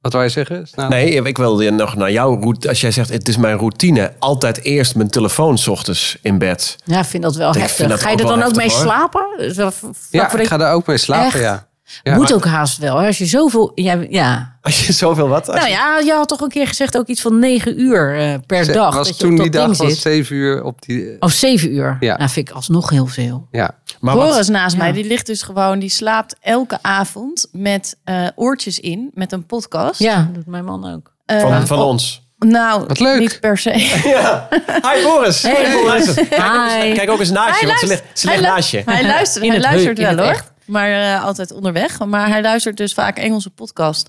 [SPEAKER 2] Wat wij zeggen? Nou,
[SPEAKER 4] Nee, ik wilde nog naar jouw route. Als jij zegt, het is mijn routine. Altijd eerst mijn telefoon 's ochtends in bed.
[SPEAKER 3] Ja, ik vind dat wel
[SPEAKER 4] Ik
[SPEAKER 3] heftig.
[SPEAKER 4] vind dat
[SPEAKER 3] Ga je
[SPEAKER 4] ook
[SPEAKER 3] er dan
[SPEAKER 4] wel
[SPEAKER 3] ook mee
[SPEAKER 4] heftig, hoor.
[SPEAKER 3] slapen? Dus wel v- vlak
[SPEAKER 2] Ja,
[SPEAKER 3] voor
[SPEAKER 2] ik
[SPEAKER 3] de-
[SPEAKER 2] ga daar ook mee slapen,
[SPEAKER 3] Echt?
[SPEAKER 2] ja. Ja.
[SPEAKER 3] Moet ook haast wel. hè? Als je zoveel... Ja, ja.
[SPEAKER 4] Als je zoveel wat... als
[SPEAKER 3] Nou
[SPEAKER 4] je-
[SPEAKER 3] ja, je had toch een keer gezegd ook iets van negen uur eh, per
[SPEAKER 2] Ze-
[SPEAKER 3] dag.
[SPEAKER 2] was
[SPEAKER 3] dat je
[SPEAKER 2] toen
[SPEAKER 3] op
[SPEAKER 2] die
[SPEAKER 3] dat
[SPEAKER 2] dag
[SPEAKER 3] ding
[SPEAKER 2] was
[SPEAKER 3] zit.
[SPEAKER 2] zeven uur op die...
[SPEAKER 3] Of zeven uur.
[SPEAKER 2] Ja.
[SPEAKER 3] Nou, vind ik alsnog heel veel.
[SPEAKER 2] Ja.
[SPEAKER 4] maar wat-
[SPEAKER 1] Boris naast
[SPEAKER 3] Ja.
[SPEAKER 1] mij, die ligt dus gewoon, die slaapt elke avond met eh, oortjes in, met een podcast.
[SPEAKER 3] Ja, doet mijn man ook.
[SPEAKER 1] Eh,
[SPEAKER 4] van, van
[SPEAKER 3] Oh.
[SPEAKER 1] op-
[SPEAKER 4] ons.
[SPEAKER 1] Nou,
[SPEAKER 2] Wat leuk.
[SPEAKER 1] niet per se.
[SPEAKER 4] Ja. Hi Boris.
[SPEAKER 3] Hey, Boris. Hi.
[SPEAKER 4] Kijk ook eens naast je, want ze ligt, ze ligt
[SPEAKER 1] lu-
[SPEAKER 4] naast je.
[SPEAKER 1] Hij luistert,
[SPEAKER 3] In
[SPEAKER 1] hij
[SPEAKER 3] het
[SPEAKER 1] luistert
[SPEAKER 3] heu, in
[SPEAKER 1] wel
[SPEAKER 3] het
[SPEAKER 1] hoor.
[SPEAKER 3] echt.
[SPEAKER 1] Maar eh, altijd onderweg. Maar hij luistert dus vaak Engelse podcast.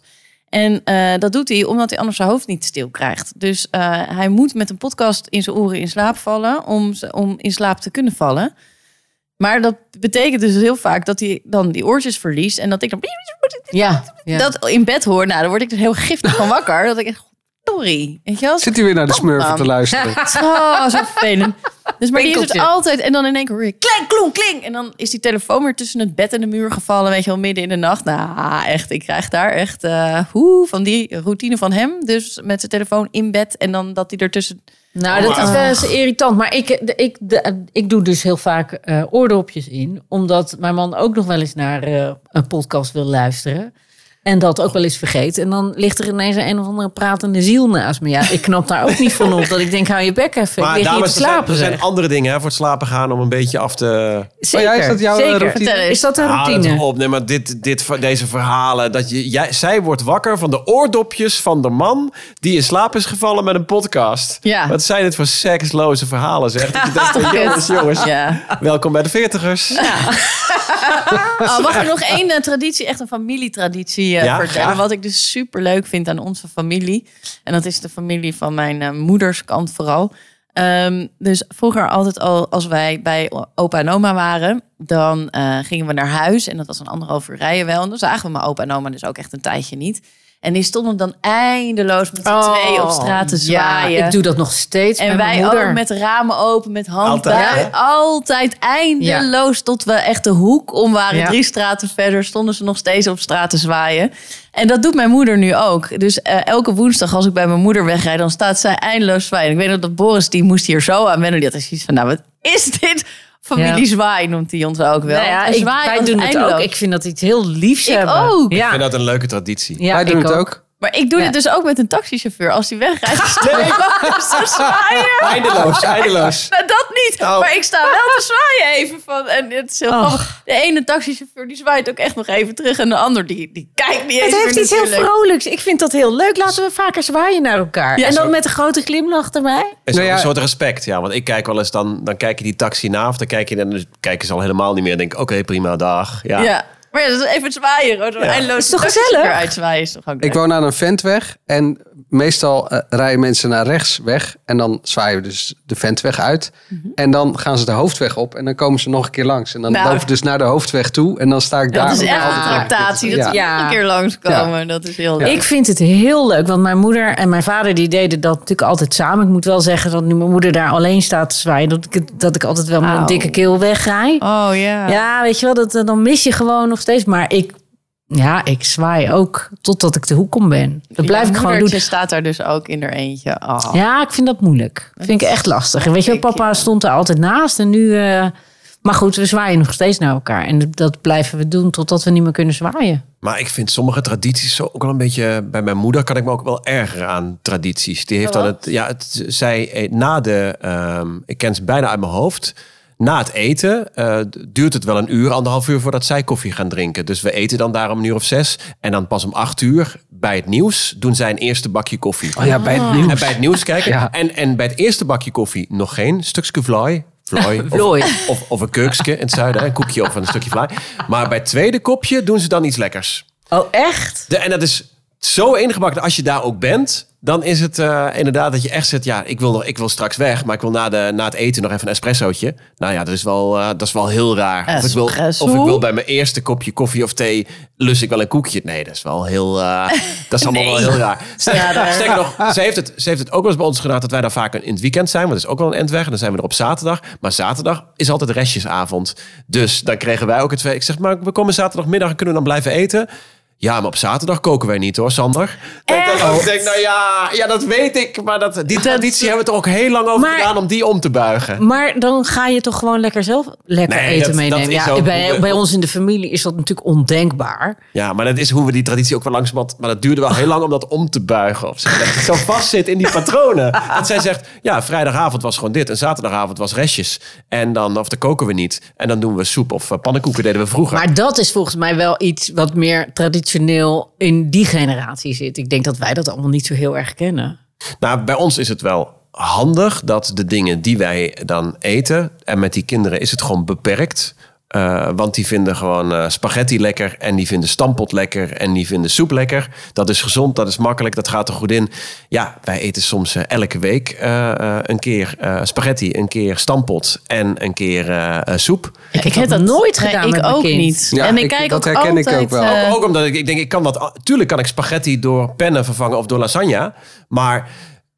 [SPEAKER 1] En eh, dat doet hij omdat hij anders zijn hoofd niet stil krijgt. Dus eh, hij moet met een podcast in zijn oren in slaap vallen om, ze- om in slaap te kunnen vallen. Maar dat betekent dus heel vaak dat hij dan die oortjes verliest en dat ik dan
[SPEAKER 3] Ja, ja.
[SPEAKER 1] dat in bed hoor. Nou, dan word ik dus heel giftig van wakker. Dat ik echt, sorry. Weet je wel?
[SPEAKER 2] Zit hij weer naar de smurfen
[SPEAKER 1] dan.
[SPEAKER 2] te luisteren?
[SPEAKER 1] Oh, zo vervelend. Dus maar die heeft het
[SPEAKER 3] Winkeltje.
[SPEAKER 1] altijd. En dan in één keer hoor je kling, kloen, kling. En dan is die telefoon weer tussen het bed en de muur gevallen. Weet je wel, midden in de nacht. Nou, echt. Ik krijg daar echt eh, hoe van die routine van hem. Dus met zijn telefoon in bed. En dan dat hij ertussen...
[SPEAKER 4] Oh,
[SPEAKER 3] Nou, dat is wel eens irritant. Maar ik, de- ik, de- ik doe dus heel vaak eh, oordopjes in. Omdat mijn man ook nog wel eens naar eh, een podcast wil luisteren. En dat ook wel eens vergeet. En dan ligt er ineens een, een of andere pratende ziel naast me. Ja, ik knap daar ook niet van op. Dat ik denk, hou je bek even. ik lig hier te
[SPEAKER 4] dames, er zijn,
[SPEAKER 3] slapen.
[SPEAKER 4] er zijn
[SPEAKER 3] zeg.
[SPEAKER 4] andere dingen hè, voor het slapen gaan om een beetje af te...
[SPEAKER 3] Zeker,
[SPEAKER 2] Oh ja, is dat jouw, eh,
[SPEAKER 3] zeker.
[SPEAKER 2] routine?
[SPEAKER 1] Vertel eens.
[SPEAKER 3] Is dat een
[SPEAKER 4] Ah, dat
[SPEAKER 3] routine?
[SPEAKER 4] op. Nee, maar dit, dit, ver- deze verhalen. Dat je, jij, zij wordt wakker van de oordopjes van de man die in slaap is gevallen met een podcast.
[SPEAKER 1] Ja.
[SPEAKER 4] Wat zijn dit voor seksloze verhalen, zeg. Dat je denkt, jongens, jongens.
[SPEAKER 1] Ja.
[SPEAKER 4] Welkom bij de veertigers.
[SPEAKER 1] Oh, mag ik nog één eh, traditie, echt een familietraditie eh,
[SPEAKER 4] Ja,
[SPEAKER 1] vertellen?
[SPEAKER 4] graag.
[SPEAKER 1] Wat ik dus super leuk vind aan onze familie. En dat is de familie van mijn eh, moeders kant vooral. Ehm, dus vroeger altijd al, als wij bij opa en oma waren, dan eh, gingen we naar huis. En dat was een anderhalf uur rijden wel. En dan zagen we mijn opa en oma dus ook echt een tijdje niet. En die stonden dan eindeloos met z'n
[SPEAKER 4] Oh,
[SPEAKER 1] tweeën op straat te zwaaien.
[SPEAKER 3] Oh. Ja, ik doe dat nog steeds
[SPEAKER 1] En
[SPEAKER 3] met mijn
[SPEAKER 1] wij
[SPEAKER 3] moeder.
[SPEAKER 1] ook met de ramen open, met handen.
[SPEAKER 4] Altijd,
[SPEAKER 1] Altijd, altijd eindeloos tot we echt de hoek om waren.
[SPEAKER 3] Ja.
[SPEAKER 1] Drie straten verder stonden ze nog steeds op straat te zwaaien. En dat doet mijn moeder nu ook. Dus eh, elke woensdag als ik bij mijn moeder wegrijd, dan staat zij eindeloos zwaaien. Ik weet nog dat Boris, die moest hier zo aan wennen. Die had echt zoiets van, nou wat is dit? Familie
[SPEAKER 3] Ja.
[SPEAKER 1] zwaai noemt hij ons ook wel.
[SPEAKER 3] Nou ja,
[SPEAKER 1] Hij
[SPEAKER 3] ik,
[SPEAKER 1] zwaait
[SPEAKER 3] wij
[SPEAKER 1] ons
[SPEAKER 3] doen het ook.
[SPEAKER 1] eindeloos.
[SPEAKER 3] Ik vind dat iets heel liefs
[SPEAKER 1] Ik
[SPEAKER 3] hebben.
[SPEAKER 1] ook.
[SPEAKER 4] Ik vind
[SPEAKER 3] Ja,
[SPEAKER 4] dat een leuke traditie.
[SPEAKER 3] ja
[SPEAKER 2] Wij doen
[SPEAKER 3] ik
[SPEAKER 2] het ook.
[SPEAKER 1] Maar ik doe
[SPEAKER 3] Ja.
[SPEAKER 1] dit dus ook met een taxichauffeur. Als hij wegrijdt, dan sta ik ook te zwaaien.
[SPEAKER 4] Eindeloos, eindeloos.
[SPEAKER 1] Nou, dat niet.
[SPEAKER 4] Oh.
[SPEAKER 1] Maar ik sta wel te zwaaien even. Van, en het is heel
[SPEAKER 3] Och.
[SPEAKER 1] grappig. De ene taxichauffeur die zwaait ook echt nog even terug. En de ander die, die kijkt niet eens
[SPEAKER 3] Het
[SPEAKER 1] meer
[SPEAKER 3] heeft iets heel
[SPEAKER 1] natuurlijk.
[SPEAKER 3] vrolijks. Ik vind dat heel leuk. Laten we vaker zwaaien naar elkaar.
[SPEAKER 1] Ja,
[SPEAKER 3] en dan
[SPEAKER 4] zo.
[SPEAKER 3] met een grote glimlach erbij.
[SPEAKER 4] Is
[SPEAKER 2] Nou
[SPEAKER 4] ook
[SPEAKER 2] ja.
[SPEAKER 4] een soort respect, ja. Want ik kijk wel eens, dan, dan kijk je die taxi na of dan kijk je en dan kijken ze al helemaal niet meer. En denk ik, oké, prima, dag. Ja.
[SPEAKER 1] Ja. Maar ja, dat is even zwaaien. Hoor. Eindeloos
[SPEAKER 3] Is toch
[SPEAKER 1] de taxichauffeur
[SPEAKER 3] gezellig?
[SPEAKER 1] Uitzwaaien is toch ook
[SPEAKER 2] Ik
[SPEAKER 1] leuk.
[SPEAKER 2] woon aan een ventweg en meestal eh, rijden mensen naar rechts weg. En dan zwaaien we dus de ventweg uit.
[SPEAKER 1] Mhm.
[SPEAKER 2] En dan gaan ze de hoofdweg op en dan komen ze nog een keer langs. En dan
[SPEAKER 1] Nou.
[SPEAKER 2] loop ik dus naar de hoofdweg toe en dan sta ik daar.
[SPEAKER 1] dat is
[SPEAKER 2] ook
[SPEAKER 1] echt
[SPEAKER 2] altijd
[SPEAKER 1] een
[SPEAKER 3] Ja.
[SPEAKER 2] aan.
[SPEAKER 1] tractatie. Dat
[SPEAKER 2] Ja.
[SPEAKER 1] ze nog een keer langskomen. Dat is heel leuk.
[SPEAKER 3] Ik vind het heel leuk, want mijn moeder en mijn vader die deden dat natuurlijk altijd samen. Ik moet wel zeggen dat nu mijn moeder daar alleen staat te zwaaien, dat ik, het- dat ik altijd wel met een
[SPEAKER 1] Au.
[SPEAKER 3] dikke keel wegrij.
[SPEAKER 1] Oh ja.
[SPEAKER 3] Ja, weet je wel, dat, eh, dan mis je gewoon nog steeds. Maar ik, ja, ik zwaai ook totdat ik de hoek om ben. Dat blijf
[SPEAKER 1] Je
[SPEAKER 3] ik gewoon doen.
[SPEAKER 1] moedertje staat daar dus ook in haar eentje. Oh.
[SPEAKER 3] Ja, ik vind dat moeilijk. Dat vind ik echt lastig. En weet je wel,
[SPEAKER 1] Zeker.
[SPEAKER 3] papa stond er altijd naast en nu... eh, maar goed, we zwaaien nog steeds naar elkaar. En dat blijven we doen totdat we niet meer kunnen zwaaien.
[SPEAKER 4] Maar ik vind sommige tradities zo ook wel een beetje. Bij mijn moeder kan ik me ook wel ergeren aan tradities. Die heeft dan het. Ja, het, zij eet na de. ehm, ik ken ze bijna uit mijn hoofd. Na het eten eh, duurt het wel een uur, anderhalf uur voordat zij koffie gaan drinken. Dus we eten dan daar om een uur of zes. En dan pas om acht uur bij het nieuws doen zij een eerste bakje koffie.
[SPEAKER 2] Oh ja, bij het nieuws.
[SPEAKER 4] En bij het nieuws kijken.
[SPEAKER 2] Ja.
[SPEAKER 4] En, en bij het eerste bakje koffie nog geen stukje vlaai. Vlaai. of-
[SPEAKER 3] Vlooi.
[SPEAKER 4] Of, of een keukske in het zuiden. hè, Een koekje of een stukje vlaai. Maar bij het tweede kopje doen ze dan iets lekkers.
[SPEAKER 3] Oh, echt?
[SPEAKER 4] De, en dat is zo ingebakken. Als je daar ook bent, dan is het eh, inderdaad dat je echt zegt... ja, ik wil, nog, ik wil straks weg, maar ik wil na, de, na het eten nog even een espressootje. Nou ja, dat is wel, eh, dat is wel heel raar. Of ik, wil,
[SPEAKER 1] Espresso?
[SPEAKER 4] of ik wil bij mijn eerste kopje koffie of thee... lus ik wel een koekje. Nee, dat is wel heel... eh, dat is allemaal wel heel raar. Sterker sterker nog, ze heeft, het, ze heeft het ook wel eens bij ons gedaan... dat wij daar vaak in het weekend zijn, want het is ook wel een endweg. En dan zijn we er op zaterdag. Maar zaterdag is altijd restjesavond. Dus dan kregen wij ook het... Ik zeg, maar we komen zaterdagmiddag en kunnen we dan blijven eten... Ja, maar op zaterdag koken wij niet hoor, Sander. Ik denk, dan ook, ik denk, nou ja, ja, dat weet ik. Maar dat, die traditie hebben we er ook heel lang over
[SPEAKER 3] Maar-
[SPEAKER 4] gedaan om die om te buigen.
[SPEAKER 3] Maar dan ga je toch gewoon lekker zelf lekker
[SPEAKER 4] Nee,
[SPEAKER 3] eten
[SPEAKER 4] dat-
[SPEAKER 3] meenemen.
[SPEAKER 4] dat is
[SPEAKER 3] ja,
[SPEAKER 4] ook-
[SPEAKER 3] bij, bij ons in de familie is dat natuurlijk ondenkbaar.
[SPEAKER 4] Ja, maar dat is hoe we die traditie ook wel langzamerhand... Maar dat duurde wel heel lang om dat om te buigen. Of zo. Dat het zo vast zit in die patronen. Dat zij zegt, ja, vrijdagavond was gewoon dit. En zaterdagavond was restjes. En dan, of dan koken we niet. En dan doen we soep of eh, pannenkoeken deden we vroeger.
[SPEAKER 3] Maar dat is volgens mij wel iets wat meer traditioneel in die generatie zit. Ik denk dat wij dat allemaal niet zo heel erg kennen.
[SPEAKER 4] Nou, bij ons is het wel handig dat de dingen die wij dan eten... en met die kinderen is het gewoon beperkt... Eh, want die vinden gewoon eh, spaghetti lekker en die vinden stampot lekker en die vinden soep lekker. Dat is gezond, dat is makkelijk, dat gaat er goed in. Ja, wij eten soms eh, elke week eh, eh, een keer eh, spaghetti, een keer stampot en een keer eh, eh, soep.
[SPEAKER 3] Ik heb dat nooit gedaan
[SPEAKER 1] Nee,
[SPEAKER 3] met
[SPEAKER 1] ik
[SPEAKER 3] mijn
[SPEAKER 1] ook
[SPEAKER 3] kind.
[SPEAKER 1] niet.
[SPEAKER 2] Ja,
[SPEAKER 1] en ik,
[SPEAKER 2] ik-
[SPEAKER 1] kijk
[SPEAKER 2] dat
[SPEAKER 1] ook
[SPEAKER 2] herken ik
[SPEAKER 1] altijd,
[SPEAKER 2] ook wel. Oh,
[SPEAKER 1] eh,
[SPEAKER 4] Ook omdat ik, ik denk, ik kan dat. Tuurlijk kan ik spaghetti door pennen vervangen of door lasagne. Maar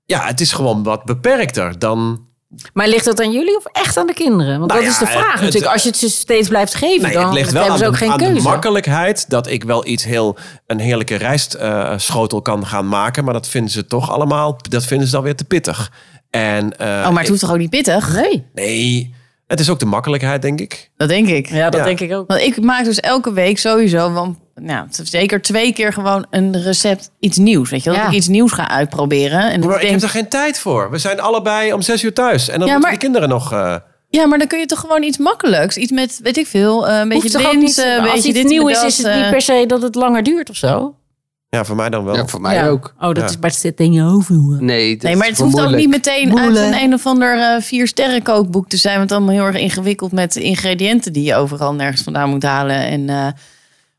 [SPEAKER 4] ja, het is gewoon wat beperkter dan
[SPEAKER 3] Maar ligt dat aan jullie of echt aan de kinderen? Want
[SPEAKER 4] Nou
[SPEAKER 3] dat
[SPEAKER 4] ja,
[SPEAKER 3] is de vraag
[SPEAKER 4] het-
[SPEAKER 3] natuurlijk. Als je het ze steeds blijft geven,
[SPEAKER 4] Nee,
[SPEAKER 3] dan
[SPEAKER 4] het ligt wel
[SPEAKER 3] hebben
[SPEAKER 4] aan,
[SPEAKER 3] ze ook
[SPEAKER 4] de,
[SPEAKER 3] geen
[SPEAKER 4] aan de
[SPEAKER 3] keuze.
[SPEAKER 4] makkelijkheid dat ik wel iets heel een heerlijke rijstschotel kan gaan maken, maar dat vinden ze toch allemaal. Dat vinden ze dan weer te pittig. En eh,
[SPEAKER 1] Oh, maar het
[SPEAKER 4] ik-
[SPEAKER 1] hoeft toch ook niet pittig?
[SPEAKER 3] Nee,
[SPEAKER 4] nee, het is ook de makkelijkheid, denk ik.
[SPEAKER 1] Dat denk ik.
[SPEAKER 3] ja, dat
[SPEAKER 4] Ja.
[SPEAKER 3] denk ik ook.
[SPEAKER 1] Want ik maak dus elke week sowieso, want, nou, zeker twee keer gewoon een recept iets nieuws. Weet je, wel? dat
[SPEAKER 3] Ja.
[SPEAKER 1] ik iets nieuws ga uitproberen. En dat
[SPEAKER 4] Maar
[SPEAKER 1] ik
[SPEAKER 4] ik heb
[SPEAKER 1] denk,
[SPEAKER 4] er geen tijd voor. We zijn allebei om zes uur thuis en dan
[SPEAKER 1] Ja,
[SPEAKER 4] moeten
[SPEAKER 1] maar-
[SPEAKER 4] de kinderen nog. eh,
[SPEAKER 1] ja, maar dan kun je toch gewoon iets makkelijks, iets met, weet ik veel, eh, een beetje
[SPEAKER 3] toch ook
[SPEAKER 1] lint, eh, een
[SPEAKER 3] nou, als
[SPEAKER 1] beetje
[SPEAKER 3] iets
[SPEAKER 1] dit,
[SPEAKER 3] nieuw
[SPEAKER 1] met
[SPEAKER 3] is,
[SPEAKER 1] dat,
[SPEAKER 3] is het niet
[SPEAKER 1] eh.
[SPEAKER 3] per se dat het langer duurt of zo.
[SPEAKER 4] ja, voor mij dan wel.
[SPEAKER 2] Ja, voor mij
[SPEAKER 3] Ja.
[SPEAKER 2] ook.
[SPEAKER 3] Oh, dat
[SPEAKER 4] Ja.
[SPEAKER 3] is bij het dingen over.
[SPEAKER 2] Nee, dat
[SPEAKER 1] Nee, maar
[SPEAKER 2] is
[SPEAKER 1] het
[SPEAKER 2] wel
[SPEAKER 1] hoeft ook
[SPEAKER 2] moeilijk.
[SPEAKER 1] niet meteen uit een een of ander eh, vier sterren kookboek te zijn. Want allemaal heel erg ingewikkeld met de ingrediënten die je overal nergens vandaan moet halen. En eh,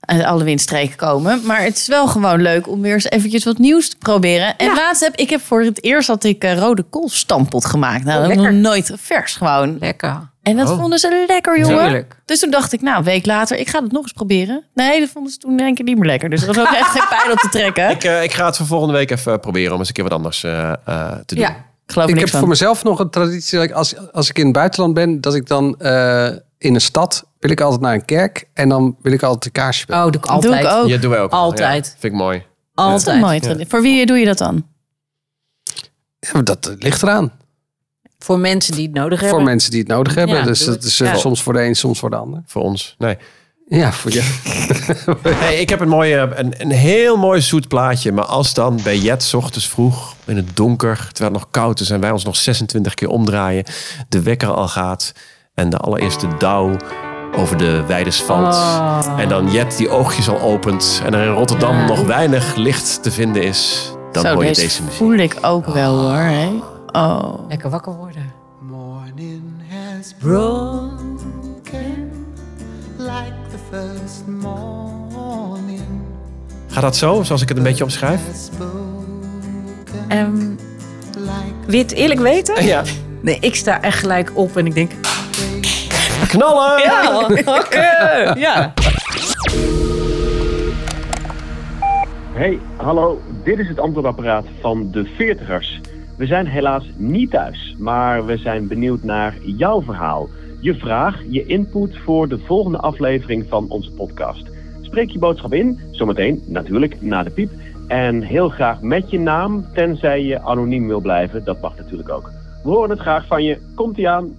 [SPEAKER 1] uit alle windstreken komen. Maar het is wel gewoon leuk om weer eens eventjes wat nieuws te proberen. En
[SPEAKER 3] Ja.
[SPEAKER 1] laatst heb ik heb voor het eerst had ik eh, rode koolstampot gemaakt. Nou, dat
[SPEAKER 3] Oh,
[SPEAKER 1] heb ik nog
[SPEAKER 3] lekker.
[SPEAKER 1] nooit vers gewoon.
[SPEAKER 3] Lekker.
[SPEAKER 1] En dat
[SPEAKER 4] Oh.
[SPEAKER 1] vonden ze lekker, jongen.
[SPEAKER 3] Tuurlijk.
[SPEAKER 1] Dus toen dacht ik, nou, een week later, ik ga het nog eens proberen. Nee, dat vonden ze toen denk ik niet meer lekker. Dus er was ook echt geen pijn op te trekken.
[SPEAKER 4] Ik, eh, ik ga het voor volgende week even proberen om eens een keer wat anders eh, eh, te doen.
[SPEAKER 3] Ja.
[SPEAKER 1] Ik geloof er niks
[SPEAKER 2] Ik heb
[SPEAKER 1] van.
[SPEAKER 2] voor mezelf nog een traditie. dat ik Als, als ik in het buitenland ben, dat ik dan eh, in een stad wil ik altijd naar een kerk. En dan wil ik altijd een kaarsje brengen.
[SPEAKER 3] Oh, doe ik
[SPEAKER 1] Dat doe
[SPEAKER 3] altijd.
[SPEAKER 1] ik ook.
[SPEAKER 4] Ja, doen wij ook. wel.
[SPEAKER 3] Altijd.
[SPEAKER 4] Ja, vind ik mooi.
[SPEAKER 1] Dat is een
[SPEAKER 3] Altijd.
[SPEAKER 1] mooie traditie. Voor wie doe je dat dan?
[SPEAKER 2] Ja,
[SPEAKER 1] Oh.
[SPEAKER 2] maar dat eh, ligt eraan.
[SPEAKER 3] Voor mensen die het nodig hebben.
[SPEAKER 2] Voor mensen die het nodig hebben.
[SPEAKER 3] Ja,
[SPEAKER 2] dus
[SPEAKER 3] doe
[SPEAKER 2] dat
[SPEAKER 3] het.
[SPEAKER 2] is eh,
[SPEAKER 3] Ja.
[SPEAKER 2] soms voor de een, soms voor de ander.
[SPEAKER 4] Voor ons. Nee.
[SPEAKER 2] Ja, voor jou.
[SPEAKER 4] Hey, ik heb een, mooie, een, een heel mooi zoet plaatje. Maar als dan bij Jet 's ochtends vroeg in het donker, terwijl het nog koud is en wij ons nog 26 keer omdraaien, de wekker al gaat en de allereerste dauw over de weides valt.
[SPEAKER 3] Oh.
[SPEAKER 4] En dan Jet die oogjes al opent en er in Rotterdam nog weinig licht te vinden is, dan
[SPEAKER 1] Zo,
[SPEAKER 4] hoor je
[SPEAKER 3] dus.
[SPEAKER 1] deze
[SPEAKER 4] deze, muziek.
[SPEAKER 1] voel ik ook wel hoor. Hè? Oh.
[SPEAKER 3] Lekker wakker worden.
[SPEAKER 7] Morning has broken like the first morning
[SPEAKER 4] Gaat dat zo, zoals ik het een beetje omschrijf?
[SPEAKER 7] has spoken
[SPEAKER 3] Ehm,
[SPEAKER 7] like
[SPEAKER 3] wil je het eerlijk weten?
[SPEAKER 4] Ja.
[SPEAKER 3] Nee, ik sta echt gelijk op en ik denk...
[SPEAKER 4] Knallen!
[SPEAKER 3] Ja, Oh, ja.
[SPEAKER 8] Hey, hallo. Dit is het antwoordapparaat van de 40ers. We zijn helaas niet thuis, maar we zijn benieuwd naar jouw verhaal. Je vraag, je input voor de volgende aflevering van onze podcast. Spreek je boodschap in, zometeen natuurlijk na de piep. En heel graag met je naam, tenzij je anoniem wil blijven. Dat mag natuurlijk ook. We horen het graag van je. Komt-ie aan.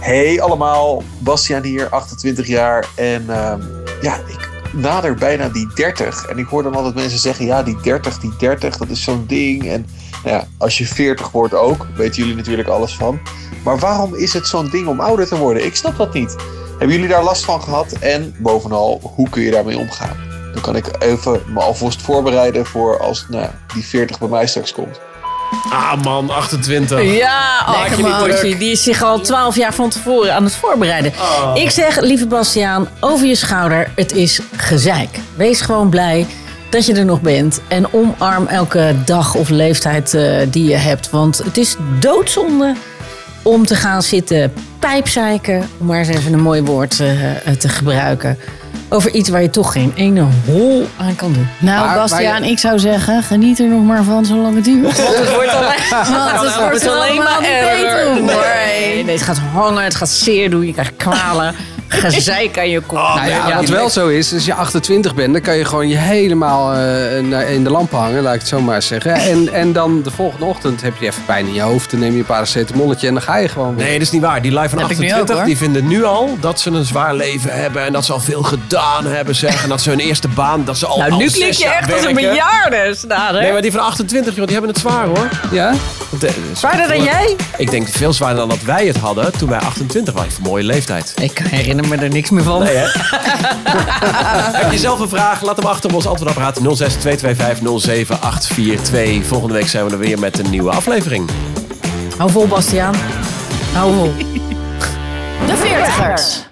[SPEAKER 9] Hey allemaal, Bastiaan hier, 28 jaar. En ehm, ja, ik nader bijna die 30. En ik hoor dan altijd mensen zeggen: ja, die 30, die 30, dat is zo'n ding. En nou ja, als je 40 wordt ook, weten jullie natuurlijk alles van. Maar waarom is het zo'n ding om ouder te worden? Ik snap dat niet. Hebben jullie daar last van gehad? En bovenal, hoe kun je daarmee omgaan? Dan kan ik even me alvast voorbereiden voor als nou, ja, die 40 bij mij straks komt.
[SPEAKER 4] Ah man, 28.
[SPEAKER 3] Ja, oh,
[SPEAKER 1] Lekker
[SPEAKER 3] je
[SPEAKER 1] man.
[SPEAKER 3] broodje. Die is zich al twaalf jaar van tevoren aan het voorbereiden. Ik zeg, lieve Bastiaan, over je schouder, het is gezeik. Wees gewoon blij dat je er nog bent. En omarm elke dag of leeftijd eh, die je hebt. Want het is doodzonde om te gaan zitten pijpzeiken. Om maar eens even een mooi woord eh, eh, te gebruiken. Over iets waar je toch geen ene hol aan kan doen.
[SPEAKER 1] Nou,
[SPEAKER 2] Maar
[SPEAKER 1] Bastiaan,
[SPEAKER 2] wij-
[SPEAKER 1] ik zou zeggen, geniet er nog maar van zolang het duurt. Want het wordt alleen,
[SPEAKER 3] wordt alleen
[SPEAKER 1] allemaal
[SPEAKER 3] maar
[SPEAKER 1] niet
[SPEAKER 3] erger.
[SPEAKER 1] beter, hoor.
[SPEAKER 3] Nee, nee, het gaat hangen, het gaat zeer doen, je krijgt kwalen, gezeik aan je kop.
[SPEAKER 2] Nou ja, wat wel zo is, als je 28 bent, dan kan je gewoon je helemaal eh, naar- in de lamp hangen, laat ik het zo maar zeggen. En, en dan de volgende ochtend heb je even pijn in je hoofd, dan neem je een paracetamolletje en dan ga je gewoon weer.
[SPEAKER 4] Nee, dat is niet waar. Die live van
[SPEAKER 1] Heb ik nu
[SPEAKER 4] 28,
[SPEAKER 1] ook, hoor.
[SPEAKER 4] die vinden nu al dat ze een zwaar leven hebben. En dat ze al veel gedaan hebben, zeg. En dat ze hun eerste baan, dat ze al
[SPEAKER 3] Nou,
[SPEAKER 4] al
[SPEAKER 3] nu
[SPEAKER 4] zes
[SPEAKER 3] klink je
[SPEAKER 4] jaar
[SPEAKER 3] echt als een
[SPEAKER 4] werken.
[SPEAKER 3] bejaarde, Snade.
[SPEAKER 4] Nee, maar die van 28, joh, die hebben het zwaar, hoor.
[SPEAKER 2] Ja?
[SPEAKER 4] De-
[SPEAKER 3] Zwaarder dan jij?
[SPEAKER 4] Ik denk veel zwaarder dan dat wij het hadden toen wij 28 waren. Wat een mooie leeftijd.
[SPEAKER 3] Ik herinner me er niks meer van.
[SPEAKER 4] Nee, hè? Heb je zelf een vraag? Laat hem achter op ons antwoordapparaat 0622507842. Volgende week zijn we er weer met een nieuwe aflevering.
[SPEAKER 3] Hou vol, Bastiaan. Hou vol.
[SPEAKER 1] De veertigers.